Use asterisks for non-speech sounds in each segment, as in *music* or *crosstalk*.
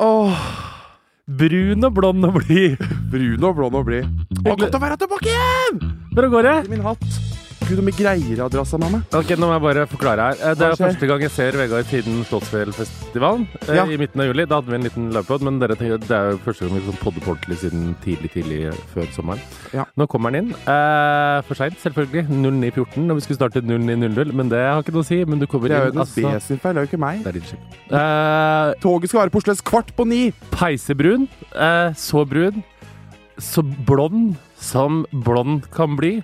Åh, Brun og blond og blid. brun og blå nå blir. Å, godt å være tilbake igjen! Hvordan går det? Min hatt. Gud, om jeg greier å dra seg med meg. Ok, nå må jeg bare forklare her. Eh, Det Hva er skjer? første gang jeg ser Vegard siden Slottsfjellfestivalen eh, Ja. i midten av juli. Da hadde vi en liten livepod, men dere tenkte at det er jo første gang vi sånn podder på ordentlig siden tidlig, tidlig eh, før sommeren. Ja. Nå kommer han inn. Eh, for seint, selvfølgelig. 09.14 når vi skulle starte 09.00, men det har ikke noe å si. Men du kommer Det Mm, er jo inn, altså. hennes B altså. sin feil, det er jo ikke meg. Det er din skyld. Eh, Toget skal være på Oslo S kvart på ni. peisebrun, eh, så brun, så blond som blond kan bli.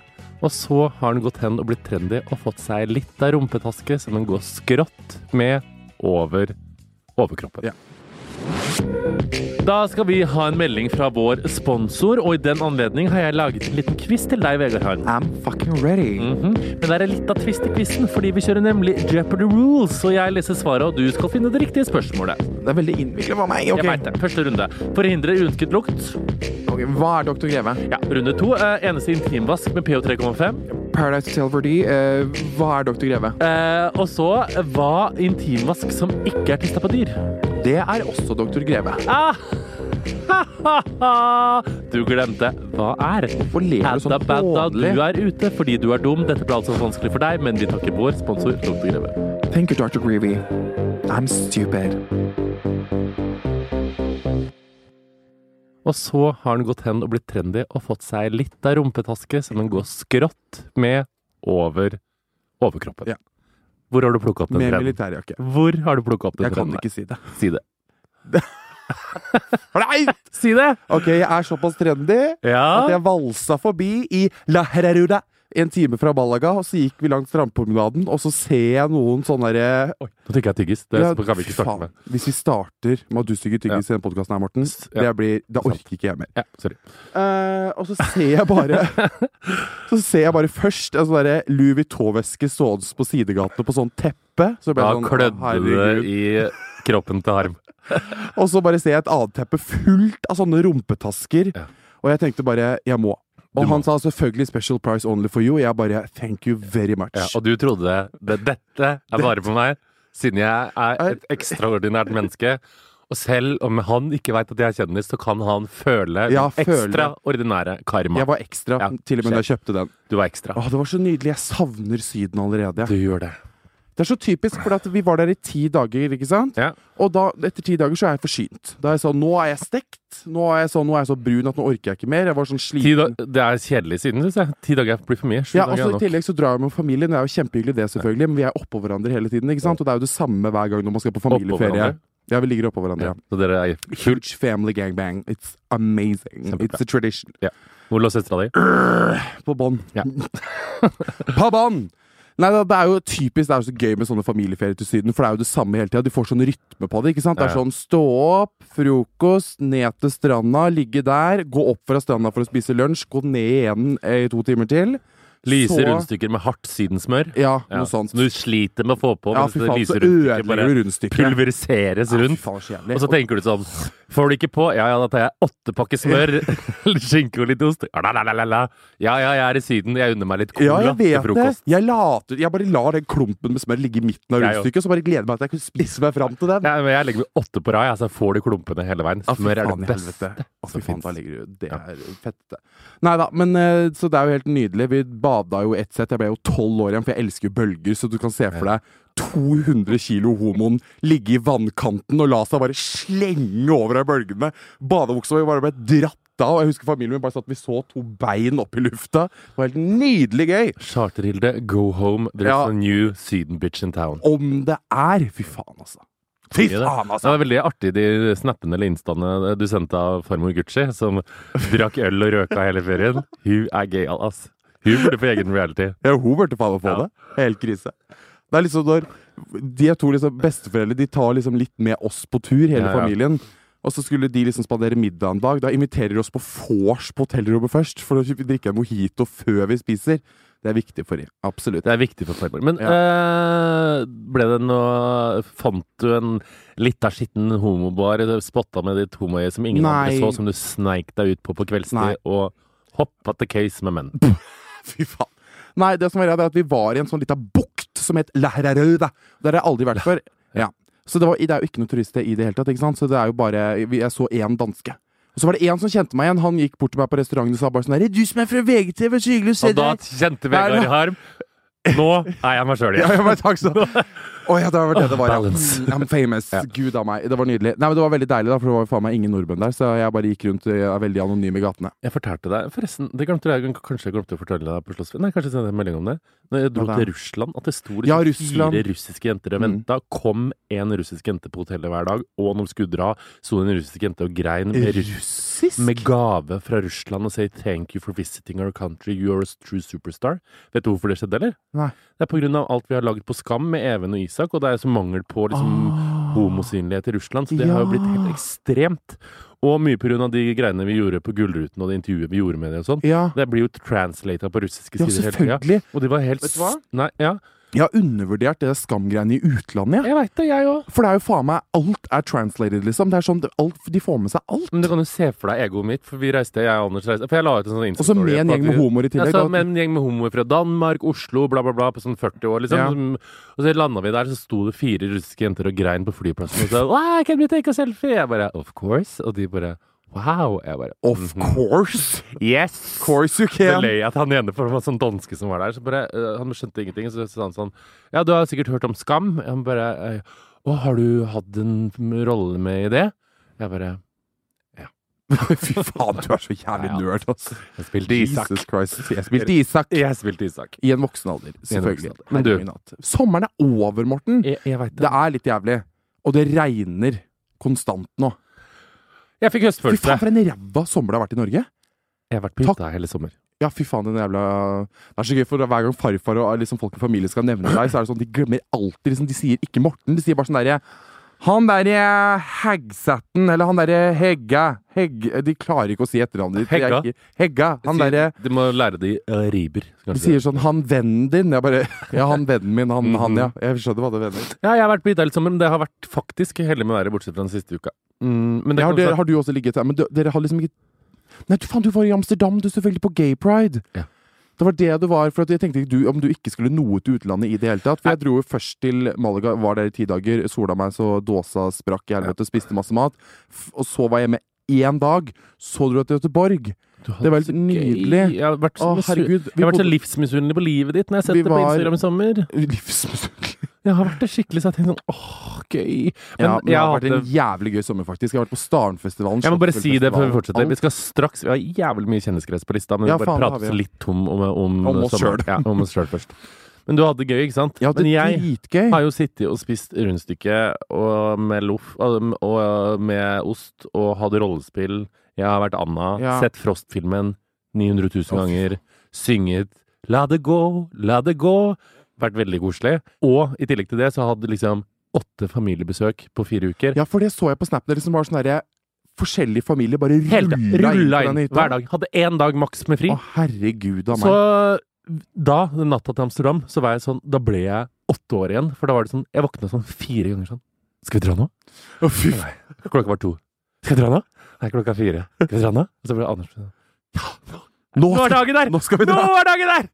Og så har han gått hen og blitt trendy og fått seg litt av rumpetaske som han går skrått med over overkroppen. Ja. Da skal vi ha en melding fra vår sponsor, og i den anledning har jeg laget en liten quiz til deg, Vegard Harm. I'm fucking ready. Mhm. Men det er litt av twist i quizen, fordi vi kjører nemlig Jeopardy rules, og jeg leser svaret, og du skal finne det riktige spørsmålet. Det er veldig innviklet for meg. Jeg Ok, vet det. Første runde. Forhindre uønsket lukt. Ok, Hva er Dr. Greve? Ja, runde to. eh, eneste intimvask med pH3,5. Paradise Hotel Verdi. eh, hva er Dr. Greve? Eh, og så eh, hva intimvask som ikke er testa på dyr. Det er også Dr. Greve. Ah! Ha-ha-ha! Du glemte. Hva er? Hvorfor ler du Adda sånn badda, du hånlig? er ute fordi du er dum. Dette ble altså vanskelig for deg, men vi takker vår sponsor Dr. Greve. Thank you, Dr. Greve. I'm stupid. Og så har han gått hen og blitt trendy og fått seg litt av rumpetaske som han går skrått med over overkroppen. Ja. Hvor har du plukka opp den Med trenden? militærjakke. Hvor har du plukka opp den Jeg kan trenden? ikke si det. Si det. Nei! *laughs* Si det! Ok, jeg er såpass trendy Ja. at jeg valsa forbi i La Herreruda en time fra Malaga, og så gikk vi langs strandpromenaden, og så ser jeg noen sånne derre Nå tenker jeg tyggis. Det Ja, kan vi ikke starte faen. med. Hvis vi starter med at du stygger tyggis i denne podkasten her, Morten, Ja. det, blir, det orker ikke jeg mer. Ja, sorry. Eh, og *laughs* så ser jeg bare *laughs* Så ser jeg bare først en sånn derre Louis Vuitton-veske stående på sidegatene på sånn teppe. Så ble Da jeg sånn, klødde herregud. det i kroppen til Harm. Og så bare ser jeg et annet teppe fullt av sånne rumpetasker. Ja. Og jeg tenkte bare Jeg må. Og Du han må. sa selvfølgelig 'special price only for you'. Jeg bare 'thank you very much'. Ja, og du trodde det, dette er bare på meg, siden jeg er et ekstraordinært menneske. Og selv om han ikke veit at jeg er kjendis, så kan han føle Ja, den føle. ekstraordinære karma. jeg var ekstra Ja, til og med da jeg kjøpte den. Du var ekstra. Åh, det var så nydelig. Jeg savner Syden allerede. Du gjør det. Det er så typisk, for at vi var der i ti dager, ikke sant? Ja. Og da, etter ti dager så er jeg forsynt. Da er jeg sånn Nå er jeg stekt. Nå er jeg, sånn, nå er jeg så brun at nå orker jeg ikke mer. Jeg var sånn Ti da, sliten. det er kjedelig siden, syns jeg. Ti dager blir for mye. Sju Ja, og dager så er I nok. tillegg så drar jeg med familien. Det er jo kjempehyggelig, det, selvfølgelig, men vi er oppå hverandre hele tiden. ikke sant? Og det er jo det samme hver gang når man skal på Oppå familieferie. hverandre? Ja, vi ligger oppå hverandre. Ja, Ja. så dere er kult. Huge family gangbang. It's amazing. Kjempebra. It's a tradition. Hvor lå søstera *clears throat* di? På bånn. Ja. *laughs* på bånn! Nei, da, det er jo typisk, det er jo så gøy med sånne familieferier til Syden, for det er jo det samme hele tida. Du får sånn rytme på det. ikke sant? Det er Ja, ja. sånn stå opp, frokost, ned til stranda, ligge der, gå opp fra stranda for å spise lunsj, gå ned igjen eh, i to timer til. Lyse Så- rundstykker med hardt sydensmør. Ja, Ja, noe sånt. Som du sliter med å få på, Ja, mens fy det faen, så lyse rundstykket ødelegger du bare rundstykket. pulveriseres Ja, fy rundt. faen, så Og så jævlig. tenker du sånn Får du ikke på? Ja ja, da tar jeg åtte pakker *laughs* smør, litt skinke og litt ost. Ja, la, la, la, la, la. ja, ja, jeg er i Syden. Jeg unner meg litt Ja, cola jeg til vet det. frokost. Jeg, later, jeg bare lar den klumpen med smør ligge i midten av Jeg rundstykket, og så bare gleder jeg meg til jeg kan spise meg fram til den. Ja, men jeg legger meg åtte på rad, jeg, så jeg får de klumpene hele veien. Ja, fy Smør er faen i det beste. helvete. Å, fy som faen, finnes. da ligger du Det Ja. er fett, det. Nei da, men eh, så det er jo helt nydelig. Vi bada jo ett sett. Jeg ble jo tolv år igjen, for jeg elsker jo bølger, så du kan se for deg 200 kilo homoen ligge i vannkanten og la seg bare slenge over av bølgene. Badebuksa mi bare ble dratt av, og jeg husker familien min bare satt vi så to bein opp i lufta. Det var helt nydelig gøy! Charterhilde, go home. There's Ja. a new Syden bitch in town. Om det er Fy faen, altså. Fy Ja, det- faen, Det altså! var veldig artig de snappene eller instaene du sendte av farmor Gucci, som drakk øl og røka hele ferien. Hun er gøyal, ass. Hun burde få egen reality. Ja, hun burde faen meg få Ja. det. Helt krise. Det er liksom når De to liksom besteforeldre De tar liksom litt med oss på tur, hele Ja, ja. familien. Og så skulle de liksom spandere middag en dag. Da inviterer de oss på vors på hotellrommet først. For å drikke en mojito før vi spiser. Det er viktig for de. Absolutt. Det er viktig for farmor. Men eh, ble det noe Fant du en lita skitten homobar spotta med ditt homoøye som ingen Nei. andre så, som du sneik deg ut på på Nei. kveldstid og hoppa til case med menn? *laughs* Fy faen. Nei, det som var greia, det er at vi var i en sånn lita bukt som het Lahrarauda. Der har jeg aldri vært før. Ja. Så det, var, det er jo ikke noe turiststed i det hele tatt. ikke sant? Så det er jo bare, vi- Jeg så én danske. Og så var det én som kjente meg igjen. Han gikk bort til meg på restauranten og sa bare sånn her, Du som er fra VGTV, så hyggelig å se Og da deg. kjente Nei, Vegard da- Harm Nå er jeg meg sjøl *laughs* Ja, igjen. ja, men takk skal du ha. Å ja, det var det det var. ja. Balance. Mm, I'm famous. Gud a meg. Det var nydelig. Nei, men Det var veldig deilig, da, for det var jo faen meg ingen nordmenn der. Så jeg bare gikk rundt og jeg er veldig anonym i gatene. Jeg fortalte deg Forresten, det glemte jeg kanskje jeg glemte å fortelle deg på Slottsfjell. Nei, kanskje jeg sendte en melding om det. Når jeg dro Hva da? til Russland, at det sto liksom Ja, Russland. Mm. fire russiske jenter og venta. Kom en russisk jente på hotellet hver dag, og når vi skulle dra, sto en russisk jente og grein med russ Russisk? med gave fra Russland og sier 'thank you for visiting our country, you are a true superstar'. Vet du hvorfor det skjedde, eller? Nei. Det er på grinn av alt vi har laget på Skam med Even og Isak, og det er så mangel på liksom, Ah. homosynlighet i Russland, så det har jo blitt helt ekstremt. Og mye på grunn av de greiene vi gjorde på Gullruten og det intervjuet vi gjorde med det og sånn. Ja. Det blir jo translata på russiske Ja, sider hele tida. selvfølgelig. Og de var helt Vet du hva? s- Nei, ja. Jeg har undervurdert det der skamgreiene i utlandet. jeg. Jeg veit det, jeg òg. For det er jo faen meg Alt er translated, liksom. Det er sånn, det- alt, De får med seg alt. Men du kan jo se for deg egoet mitt, for vi reiste, jeg og Anders reiste For jeg la ut en sånn Og så med en på at gjeng med vi- homoer i tillegg, Ja, da. så med en gjeng med homoer fra Danmark, Oslo, bla, bla, bla, på sånn 40 år, liksom. Ja. Som- Og så landa vi der, så sto det fire russiske jenter og grein på flyplassen og sa «Wow, Can we take a selfie? Jeg bare Of course. Og de bare Wow. Jeg bare Of course! Mhm. Yes! Of course you Så can! løy jeg til han ene, for det var en sånn danske som var der. Så bare, øh, Han skjønte ingenting. Så sa han sånn Ja, du har sikkert hørt om Skam? Han bare eh, Å, har du hatt en rolle med i det? Jeg bare *laughs* Fy faen, du er så jævlig Ja, ja. nerd, altså. Jeg spilte Isak. Jesus Christ. Jeg spilte Isak. Jeg spilte Isak. I en voksen alder, selvfølgelig. voksen alder. Men du- Herre min hatt. Sommeren er over, Morten. Jeg, jeg veit Det er litt jævlig. Og det regner konstant nå. Jeg fikk Fy faen, høstfølelse. for en ræva sommer det har vært i Norge! Jeg har vært på hytta hele sommer. Ja, fy faen, den jævla Det er så gøy, for hver gang farfar og liksom, folk i familien skal nevne deg, så er det sånn de glemmer alltid liksom, De sier ikke Morten, de sier bare sånn derre Han derre Hegsæten, eller han derre Hegga Hegg De klarer ikke å si etternavnet ditt. Det er Hegga? ikke- Hegga. Han derre Du må lære de eh, riber. De kanskje. sier sånn 'han vennen din'. Jeg bare Ja, han vennen min. Han, han ja. Jeg skjønner hva det mener. Ja, jeg har vært på hytta hele sommeren. Det har vært faktisk heldig med været, bortsett fra den siste uka. Mm, men det Ja, kan har, dere, også- har du også ligget der? Men du, dere har liksom ikke Nei, du, faen, du var i Amsterdam, du selvfølgelig, på gay pride. Ja. Det var det du var, for at jeg tenkte ikke du, om du ikke skulle noe til utlandet i det hele tatt. For jeg dro jo først til Malaga, var der i ti dager, sola meg så dåsa sprakk i helvete, spiste masse mat. F og så var jeg hjemme én dag, så dro jeg til Göteborg. Du har Det var så helt gøy. nydelig. Jeg har vært så, Å, misu- jeg herregud. har vært så bodde- livsmisunnelig på livet ditt når jeg har Vi sett det på var- Instagram i sommer. Livsmusikk. Jeg har vært det skikkelig så jeg tenkte sånn åh, gøy. Men, Ja, men det jeg, har har vært en hatt det- jævlig gøy sommer, faktisk. Jeg har vært på Starenfestivalen. jeg må bare si det før vi fortsetter. Slottsfestivalen, Vi skal straks Vi har jævlig mye kjendiskrets på lista, men Ja, vi bare faen, det har prate vi, oss ja. litt tom om, om, Om oss sommeren. selv. Ja, om oss sjøl først. Men du hadde det gøy, ikke sant? Ja, det men jeg er dritgøy. har jo sittet og spist rundstykke og med loff um, og og med ost og hatt rollespill. Jeg har vært Anna, Ja. sett Frost-filmen 900 000 Å, fy ganger, synget 'La det gå, la det gå'. Vært veldig koselig. Og i tillegg til det så hadde liksom åtte familiebesøk på fire uker. Ja, for det så jeg på Snap. Det liksom var sånn derre Forskjellige familier bare Helt rulla inn rulla på inn den hver hytta. dag. Hadde én dag maks med fri. Å, herregud a meg. Så da, den natta til Amsterdam, så var jeg sånn Da ble jeg åtte år igjen. For da var det sånn Jeg våkna sånn fire ganger sånn. Skal vi dra nå? Å, fy faen. Klokka var to. Skal vi dra nå? Nei, klokka er fire. Skal vi dra nå? Og så ble Anders sånn Nå, Nå er skal, dagen der! nå skal vi Nå dra! er dagen der!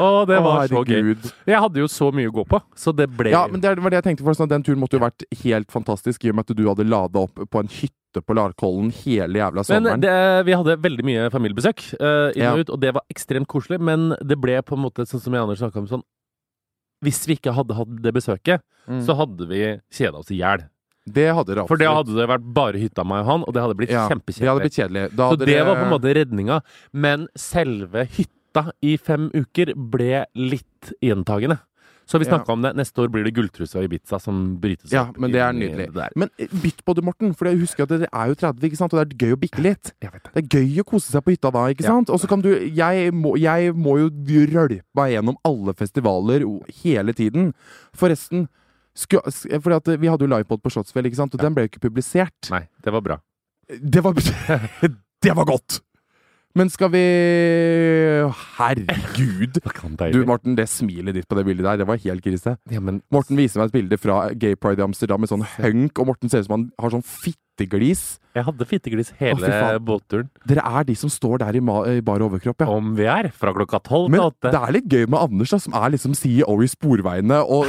Å, det Å, var så gøy. herregud. Jeg hadde jo så mye å gå på, så det ble Ja, men det var det jeg tenkte. For sånn, at den turen måtte jo vært helt fantastisk, i og med at du hadde lada opp på en hytte på Larkollen hele jævla Men sommeren. det, eh, vi hadde veldig mye familiebesøk, eh, inn Ja. og ut, og det var ekstremt koselig. Men det ble på en måte sånn som jeg og Anders snakka om sånn Hvis vi ikke hadde hatt det besøket, Mm. så hadde vi kjeda oss i hjel. det, hadde det For det hadde absolutt. det vært bare hytta meg og han, og det hadde blitt Ja, Det hadde kjempekjedelig. blitt kjedelig. Da Så hadde det var på en måte redninga. Men selve hytta i fem uker ble litt gjentagende. Så vi Ja. snakka om det. Neste år blir det gulltrusa og Ibiza som brytes Ja, opp. men det er inn i nydelig. det der. Men eh, bytt på det, Morten, for jeg husker at dere er jo 30, ikke sant? og det er gøy å bikke litt. Jeg vet det. Det er gøy å kose seg på hytta da, ikke Ja. sant? Og så kan du jeg må, jeg må jo rølpe meg gjennom alle festivaler o- hele tiden. Forresten sku, s- fordi at Vi hadde jo livepod på Slottsfjell, ikke sant? og den ble jo ikke publisert. Nei, det var bra. Det var, *laughs* det var godt! Men skal vi Herregud! Du, Morten, det smilet ditt på det bildet der, det var helt krise. ja, men Morten viser meg et bilde fra Gay Pride i Amsterdam med sånn hunk, og Morten ser ut som han har sånn fitteglis. jeg hadde fitteglis Å, hele fy faen. båtturen. Dere er de som står der i, ma i bar overkropp, ja. Om vi er fra klokka tolv Men til åtte. det er litt gøy med Anders, da, som er liksom CEO i Sporveiene og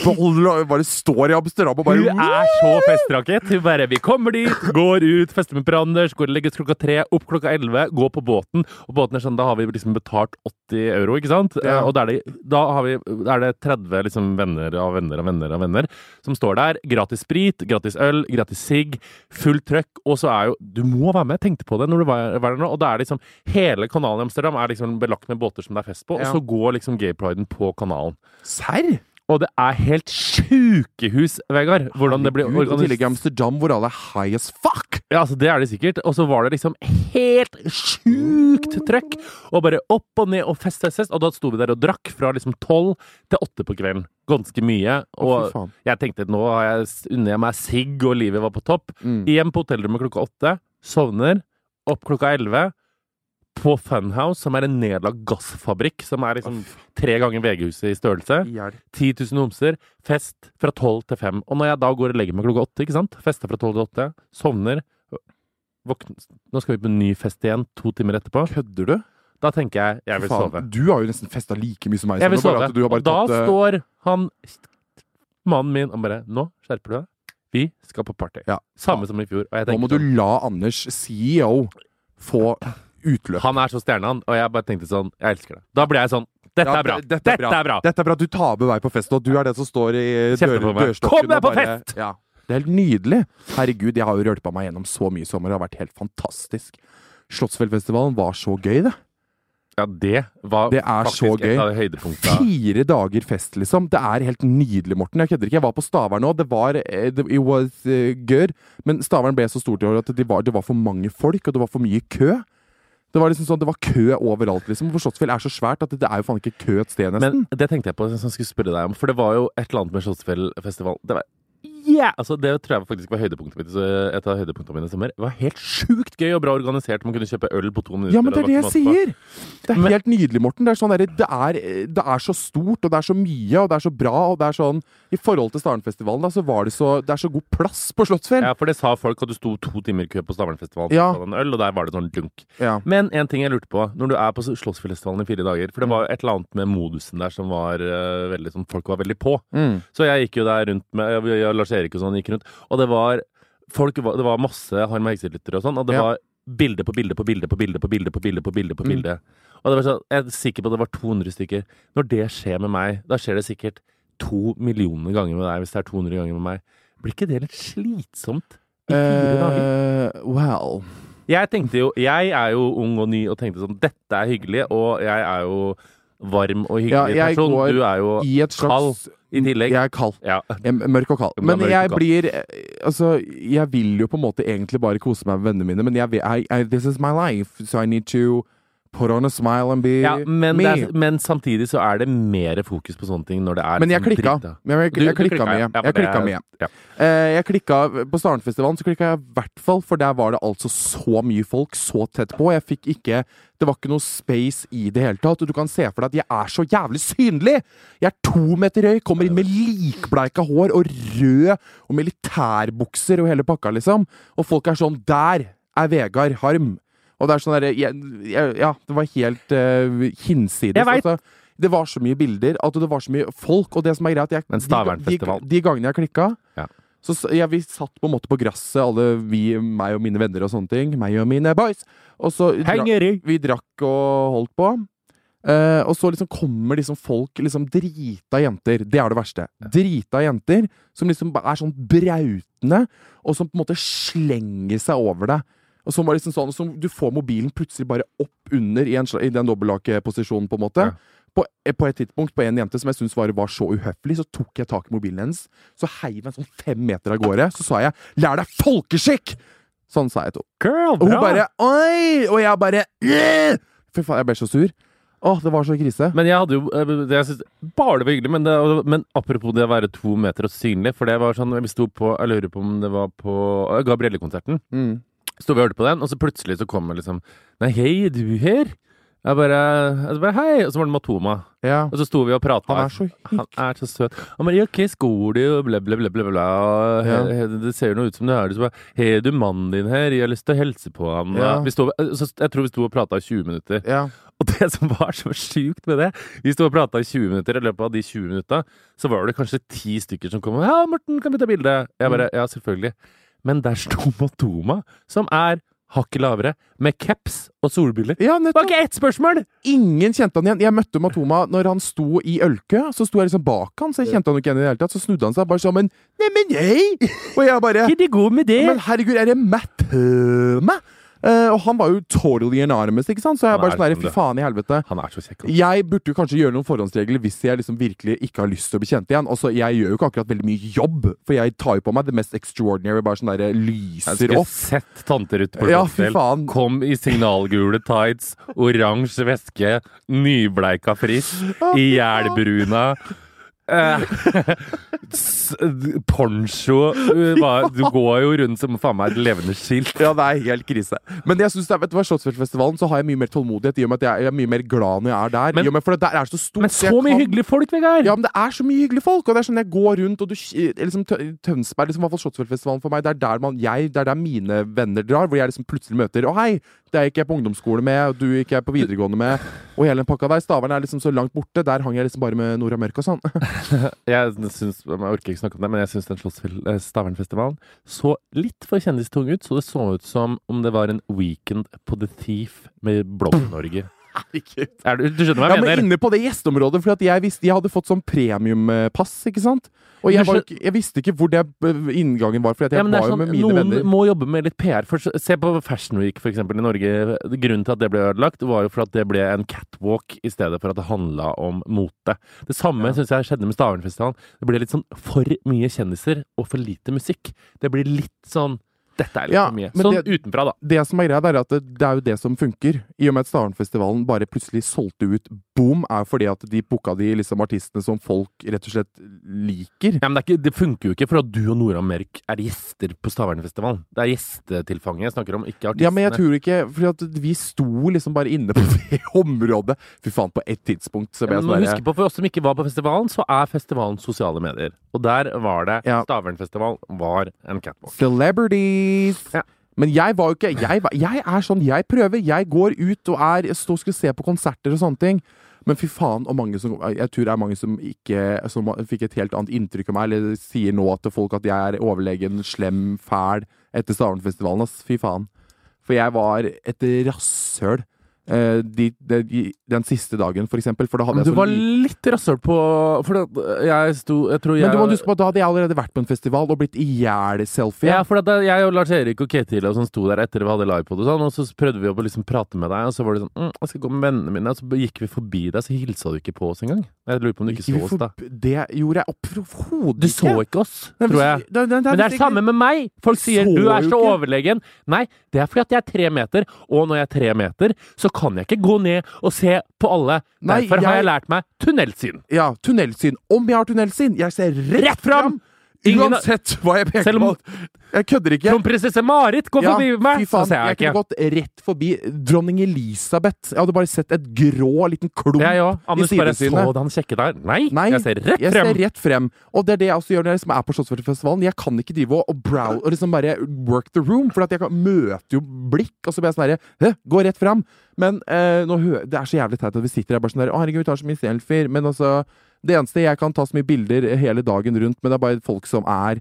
boller og bare står i Amsterdam og bare Hun er så festrakett. Hun bare 'Vi kommer dit, går ut, fester med Per Anders, går og legges klokka tre, opp klokka elleve, går på båten'. Og båten er sånn, da har vi liksom betalt 80 euro, ikke sant? Ja. Eh, Og da er det, da har vi, da er det 30 liksom venner av venner av venner av venner som står der. Gratis sprit, gratis øl, gratis sigg, fullt trøkk. Og så er jo Du må være med! Jeg tenkte på det når du var var der nå. Og det er liksom Hele kanalen i Amsterdam er liksom belagt med båter som det er fest på, Ja. og så går liksom gaypriden på kanalen. Serr? Og det er helt sjukehus, Vegard, hvordan det blir Herregud, og I tillegg i organisert. Amsterdam, hvor alle er high as fuck! Ja, altså, det er det sikkert. Og så var det liksom helt sjukt trøkk. Og bare opp og ned og fest, fest, fest. Og da sto vi der og drakk fra liksom tolv til åtte på kvelden. Ganske mye. Å, fy Og faen. jeg tenkte at nå har jeg s- unner jeg meg sigg, og livet var på topp. Mm. Hjem på hotellrommet klokka åtte. Sovner. Opp klokka elleve. På Funhouse, som er en nedlagt gassfabrikk som er liksom tre ganger VG-huset i størrelse. 10 000 homser, fest fra 12 til 5. Og når jeg da går og legger meg klokka 8, ikke sant? Fester fra 12 til 8, sovner, våkner Nå skal vi på en ny fest igjen to timer etterpå. Kødder du? Da tenker jeg jeg vil sove. Faen, du har jo nesten festa like mye som meg. Jeg vil Sander, bare sove. at du har Og bare da tatt, eh, står han, mannen min, og bare Nå skjerper du deg. Vi skal på party. Ja. Samme som i fjor. Og jeg Nå må tenker du sånn, la Anders, CEO, få utløp. sånn, Han er så stjerne, han. Og jeg bare tenkte sånn Jeg elsker det. Da ble jeg sånn Dette Ja, er bra. d- Dette er bra. Dette er bra. Du tar med meg på fest, og du er den som står i dør, Kjefter på meg. dørstokken. Kom deg og på bare- fest! Ja. Det er helt nydelig. Herregud, jeg har jo rølpa meg gjennom så mye i sommer. Det har vært helt fantastisk. Slottsfjellfestivalen var så gøy, det. Ja, det var Det er så faktisk gøy. et av høydepunktene. Fire dager fest, liksom. Det er helt nydelig, Morten. Jeg kødder ikke. Jeg var på Stavern nå. Det var eh, det- It was eh, good. Men Stavern ble så stort i år at det var, det var for mange folk, og det var for mye kø. Det var liksom sånn, det var kø overalt, liksom. For Slottsfjell er så svært at det, det er jo faen ikke kø et sted, nesten. Men det tenkte jeg på som jeg skulle spørre deg om, for det var jo et eller annet med Slottsfjellfestival. Det var yeah! altså, det tror jeg faktisk var høydepunktet mitt, så et av høydepunktene mine i sommer. Det var helt sjukt gøy og bra organisert. Man kunne kjøpe øl på to minutter. ja, men det er og det jeg lagt mat på. sier! Det er Men- helt nydelig, Morten. Det er, sånn der, det, er, det er så stort, og det er så mye, og det er så bra, og det er sånn I forhold til Starenfestivalen, da, så var det så Det er så god plass på Slottsfjell! Ja, for det sa folk at du sto to timer i kø på Stavernfestivalen Ja. for å ta en øl, og der var det sånn dunk. Ja. Men en ting jeg lurte på, når du er på Slottsfjellfestivalen i fire dager, Mm. for det var jo et eller annet med modusen der som var eh, veldig sånn, folk var veldig på. Så jeg gikk jo der rundt med jeg, jeg, Lars Erik og sånn gikk rundt, og det var folk, var- det var masse Harm Hegseth-lyttere og sånn, og det Ja. Mm. var bilde på bilde på bilde på bilde på bilde på bilde på bilde på bilde. Og det var sånn, jeg er sikker på at det var 200 stykker. Når det skjer med meg, da skjer det sikkert to millioner ganger med deg hvis det er 200 ganger med meg. Blir ikke det litt slitsomt? I fire dager? Eh, well Jeg tenkte jo, jeg er jo ung og ny og tenkte sånn, dette er hyggelig, og jeg er jo varm og Ja, hyggelig jeg person. går Du er jo I et slags i tillegg. Jeg er kald. Ja. Jeg er Mørk og kald. Du er Men mørk og jeg kald. blir eh, Altså, jeg vil jo på en måte egentlig bare kose meg med vennene mine, men jeg vil I, I, This is my life, so I need to put on a smile and be Ja, men, me. det er, men samtidig så er det mer fokus på sånne ting når det er Men jeg liksom klikka. dritt, da. Men jeg, Du- jeg du klikka klikka, ja. med. Ja, Jeg men det klikka er- med. ja. Eh, Jeg klikka på Starenfestivalen, så klikka jeg i hvert fall, for der var det altså så mye folk så tett på. Jeg fikk ikke Det var ikke noe space i det hele tatt. Og du kan se for deg at jeg er så jævlig synlig! Jeg er to meter høy, kommer inn med likbleika hår og rød og militærbukser og hele pakka, liksom. Og folk er sånn Der er Vegard Harm! Og det er sånn derre jeg- jeg- Ja, det var helt eh, hinsides. Jeg vet. altså. Det var så mye bilder, at det var så mye folk. Og det som er greit jeg, Men Stavernfestival. De, de, de gangene jeg klikka Ja. så, s- ja, Vi satt på en måte på gresset, alle vi, meg og mine venner og sånne ting. Meg og mine boys. Og så dra, Henger i! vi drakk og holdt på. Eh, og så liksom kommer liksom folk, liksom drita jenter. Det er det verste. Drita jenter som liksom ba- er sånn brautende, og som på en måte slenger seg over deg. Og som bare liksom sånn, som du får mobilen plutselig bare opp under i, en, sla- i den dobbeltlakeposisjonen, på en måte. Ja. På, eh, på et tidspunkt, på en jente som jeg syntes var, var så uhøflig, så tok jeg tak i mobilen hennes. Så heiv jeg sånn fem meter av gårde. Så sa jeg 'lær deg folkeskikk'! Sånn sa jeg til henne. Girl, Og hun bra! bare Oi! Og jeg bare «Øh!» Fy faen, jeg ble så sur. Åh, det var så krise. Men jeg hadde jo eh, det jeg synes, Bare det var hyggelig, men, det, men apropos det å være to meter og synlig For det var sånn Vi sto på Jeg lurer på om det var på eh, Gabrielle-konserten. Mm. Sto vi og hørte på den, og så plutselig så kommer liksom Nei, hei, er du her? Jeg bare, jeg bare Hei! Og så var det Matoma. Ja. Og så sto vi og prata. Han er så Han er så søt. Han bare 'Ja, hva skor du?' og bla, bla, bla, bla, bla. Og Ja. he- he- Det ser jo noe ut som du er det. Så bare 'Har du mannen din her? Jeg har lyst til å hilse på han.' Ja. Vi sto, så jeg tror vi sto og prata i 20 minutter. Ja. Og det som var så sjukt med det Vi sto og prata i 20 minutter. I løpet av de 20 minutta så var det kanskje ti stykker som kom og 'Ja, Morten, kan vi ta bilde?' Jeg bare 'Ja, selvfølgelig'. Men der sto Matoma, som er hakket lavere, med caps og solbriller. Det ja, var nettopp. ikke ett spørsmål! Ingen kjente han igjen. Jeg møtte Matoma når han sto i ølkø. Så sto jeg liksom bak han, så jeg kjente han jo ikke igjen i det hele tatt. Så snudde han seg bare sånn Men neimen, hei! Og jeg bare Hva er de gode med det? Men herregud, er det Matt Høme? Eh, og han var jo totally anonymous, ikke sant? Så jeg Han bare er sånn der, som Fy det. faen i helvete. Han er så kjekk. han. Jeg burde jo kanskje gjøre noen forhåndsregler hvis jeg liksom virkelig ikke har lyst til å bli kjent igjen. Også, jeg gjør jo ikke akkurat veldig mye jobb, for jeg tar jo på meg det mest extraordinary. Bare sånn der Jeg lyser skulle opp. sett tanter ute på Ja, fy Slottsfjell. faen. Kom i signalgule tights, oransje væske, nybleika frisk, i jælbruna. Eh, *laughs* s- d- poncho eh, hva- Du går jo rundt som faen meg et levende skilt. Ja, det er helt krise. Men jeg synes det er, vet du hva, Slottsfjellfestivalen så har jeg mye mer tålmodighet, i og med at jeg er mye mer glad når jeg er der. Men- i og med, for det der er så stort. Men så jeg så mye kan- hyggelige folk, Vegard! Ja, men det er så mye hyggelige folk, og det er sånn jeg går rundt, og du eh, liksom, Tø- Tønsberg, liksom, i hvert fall Slottsfjellfestivalen for meg, det er der man, jeg, det er der mine venner drar, hvor jeg liksom plutselig møter, å hei, det gikk jeg på ungdomsskole med, og du gikk jeg på videregående med, og hele den pakka der, Stavern er liksom så langt borte, der hang jeg liksom bare med Nora Mørk og sånn. Jeg syns, jeg orker ikke snakke om det, men jeg syns den Slottsfjell- eh, Stavernfestivalen så litt for kjendistung ut, så det så ut som om det var en weekend på The Thief med Blom-Norge. *laughs* Er du, du skjønner hva Ja, jeg men mener? inne på det gjesteområdet, for at jeg visste, jeg hadde fått sånn premiumpass, ikke sant? Og jeg, Du var, jo ikke- jeg visste ikke hvor det eh, inngangen var, for at jeg Ja, men det er var jo sånn, med mine noen venner. må jobbe med litt PR. For, s- se på Fashion Week for eksempel, i Norge. Grunnen til at det ble ødelagt, var jo for at det ble en catwalk i stedet for at det handla om mote. Det samme synes syns jeg skjedde med Stavernfestivalen. Det ble litt sånn for mye kjendiser og for lite musikk. Det blir litt sånn Dette er litt Ja, for mye. men Sånn det- utenfra, da. Det som er greia, det er at det, det er jo det som funker. I og med at Stavernfestivalen bare plutselig solgte ut boom, er jo fordi at de booka de liksom artistene som folk rett og slett liker. Ja, men det, er ikke, det funker jo ikke for at du og Nora Mørk er gjester på Stavernfestivalen. Det er gjestetilfanget jeg snakker om, ikke artistene. Ja, men jeg tror ikke Fordi at vi sto liksom bare inne på *laughs* det området. Fy faen, på et tidspunkt så Ja, men ble jeg du må sånn huske derre på, For oss som ikke var på festivalen, så er festivalen sosiale medier. Og der var det Ja. Stavernfestival var en catwalk. Celebrities! Ja. Men jeg var jo ikke jeg, var, jeg er sånn, jeg prøver. Jeg går ut og er står og skal se på konserter og sånne ting. Men fy faen, og mange som, jeg tror det er mange som ikke som fikk et helt annet inntrykk av meg, eller sier nå til folk at jeg er overlegen, slem, fæl etter Stavernfestivalen. Ass, fy faen. For jeg var et rasshøl eh, de, de, de, den siste dagen, for eksempel. For da hadde Men jeg sånn du så var li- litt rasshøl på For det, jeg sto Jeg tror jeg Men du må huske på at da hadde jeg allerede vært på en festival og blitt ihjel-selfie. Ja, for at da- jeg og Lars Erik og Ketil og sånn sto der etter vi hadde livepod og sånn, og så prøvde vi å liksom prate med deg, og så var det sånn mm, 'Jeg skal gå med vennene mine', og så gikk vi forbi deg, så hilsa du ikke på oss engang. Jeg lurer på om du ikke så oss, da. Det gjorde jeg opp- overhodet Du så ikke oss, tror jeg. Men det er det samme med meg! Folk sier så 'du er jo så ikke. overlegen'. Nei, det er fordi at jeg er tre meter, og når jeg er tre meter, så kan jeg ikke gå ned og se på alle. Nei, Derfor har jeg jeg- lært meg tunnelsyn. Ja, tunnelsyn. Om jeg har tunnelsyn! Jeg ser rett Rett fram! fram! Ingen- Uansett hva jeg peker Selv om- på. Jeg kødder ikke. Kronprinsesse Marit går Ja, forbi meg, fy faen, så ser jeg, jeg kunne ikke. gått rett forbi dronning Elisabeth. Jeg hadde bare sett et grå liten klump Jeg òg. i Anders bare sidesynet. så han kjekke der. Nei, Nei, jeg ser rett jeg frem. ser rett frem. Og det er det jeg også gjør når jeg liksom er på Slottsfjellfestivalen. Jeg kan ikke drive og- og brow og liksom bare work the room, for at jeg kan, møter jo blikk, og så blir jeg sånn herre «Hæ? Gå rett frem. Men eh, nå hø det er så jævlig teit at vi sitter her bare sånn der Å, herregud, vi tar så mye selfier. Men altså Det eneste jeg kan ta så mye bilder hele dagen rundt, men det er bare folk som er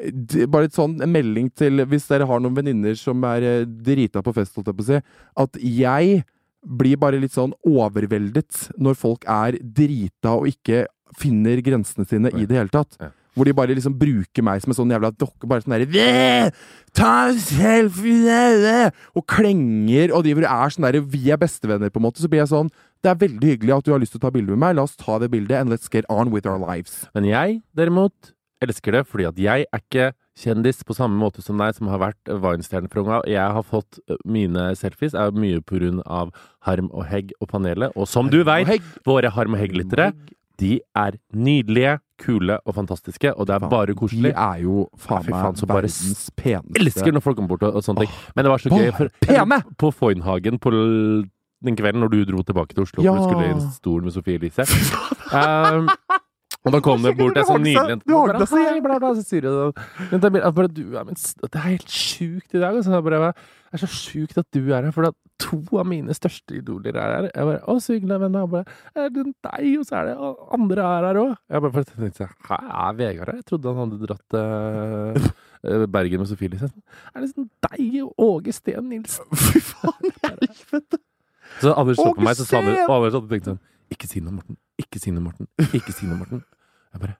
d- bare et sånn en melding til Hvis dere har noen venninner som er eh, drita på fest, holdt jeg på å si, at jeg blir bare litt sånn overveldet når folk er drita og ikke finner grensene sine i det hele tatt. Ja. Hvor de bare liksom bruker meg som en sånn jævla dokke. Bare sånn derre «Væ! Ta en selfie! væ, væ!» Og klenger og driver og er sånn derre Vi er bestevenner, på en måte. Så blir jeg sånn Det er veldig hyggelig at du har lyst til å ta bilde med meg. La oss ta det bildet, and let's get on with our lives. Men jeg, derimot, elsker det fordi at jeg er ikke kjendis på samme måte som deg, som har vært Vine-stjerne fra ung av. Jeg har fått eh, mine selfies, er mye på grunn av Harm og Hegg og panelet. Og som du veit, Hei, våre Harm og Hegg-lyttere, de er nydelige, kule og fantastiske, og det er Faen, bare De koselig. er jo faen Fy meg faen, så bare verdens peneste Elsker når folk kommer bort og, og sånne ting. Men det var så bare gøy. For, pene! På Foynhagen på l- den kvelden når du dro tilbake til Oslo Ja. for du skulle i en stol med Sofie *laughs* Elise. Um, og da kom det bort en sånn nydelig Du har det så Hei, bla, bla, så sier du det. Men det er bare- bare du er min s- Det er helt sjukt i dag. Altså. Det, er bare, det er så sjukt at du er her, for at to av mine største idoler er her. Jeg bare, Å, så hyggelig, venner. Og bare Er det "Eh, deg, og så er det og andre er her òg. Jeg bare for- tenkte Hæ, er Vegard her? Jeg trodde han hadde dratt eh, eh, Bergen med Sofie Elise. Er det sånn deg og Åge Steen Nilsen? *laughs* Fy faen, helvete! Så Anders så på Åge meg, så sa Anders, Steen! og Anders hadde tenkt sånn Ikke si noe, Morten. Ikke si noe, Morten. Ikke si noe, Morten. Jeg bare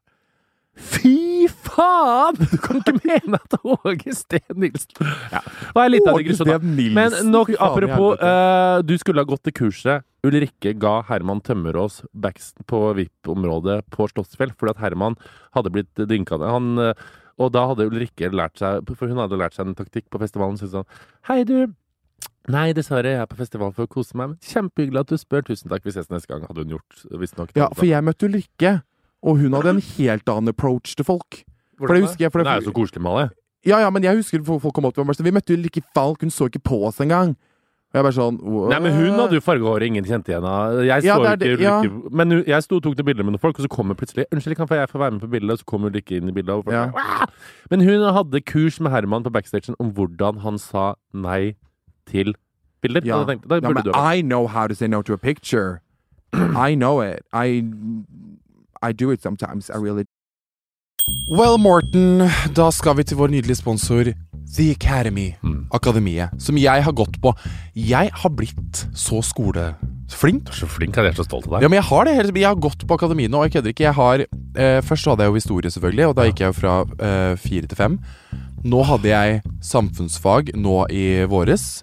Fy faen! Du kan ikke mene at Åge Steen Nilsen ja. Det var litt av Åge digresjon, da. Steen Nilsen, Men nok fy faen i apropos, helvete. eh, du skulle ha gått til kurset Ulrikke ga Herman Tømmerås backs på VIP-området på Slottsfjell, fordi at Herman hadde blitt dynka ned. Han, eh, og da hadde Ulrikke lært seg For hun hadde lært seg en taktikk på festivalen. Så hun sa Hei, du. Nei, dessverre, jeg er på festival for å kose meg. Men kjempehyggelig at du spør. Tusen takk. Vi ses neste gang, hadde hun gjort. Visstnok. Ja, for jeg møtte Ulrikke, og hun hadde en helt annen approach til folk. Hvordan for det da? husker jeg, for det- Hun er jo så koselig med alle. Ja, ja, men jeg husker folk folk kom opp til meg og bare sånn, Vi møtte Ulrikke Falk, hun så ikke på oss engang. Og jeg bare sånn «Wow». Nei, men hun hadde jo fargehår, ingen kjente igjen henne. Jeg Ja, så det er ikke det- ja. Ulrikke Men hun- jeg sto og tok noen bilder med noen folk, og så kommer plutselig 'Unnskyld, kan jeg få være med på bildet?' Og så kom Ulrikke inn i bildet. Og folk, Ja. «Wah!» Men hun hadde kurs med Herman på backstagen om hvordan han sa nei til bilder. Ja. Og da tenkte, da ja, burde men du ha vært. I know how to say no to a picture. I know it. I, I do it sometimes. I really Well, Morten, da skal vi til vår nydelige sponsor The Academy. Mm. Akademiet. Som jeg har gått på. Jeg har blitt så skoleflink. Så flink, jeg er så stolt av deg. Ja, men jeg har det. helt- Jeg har gått på akademiet nå, og jeg kødder ikke. Jeg har, eh, først så hadde jeg jo historie, selvfølgelig, og da gikk jeg jo fra eh, fire til fem. Nå hadde jeg samfunnsfag nå i våres,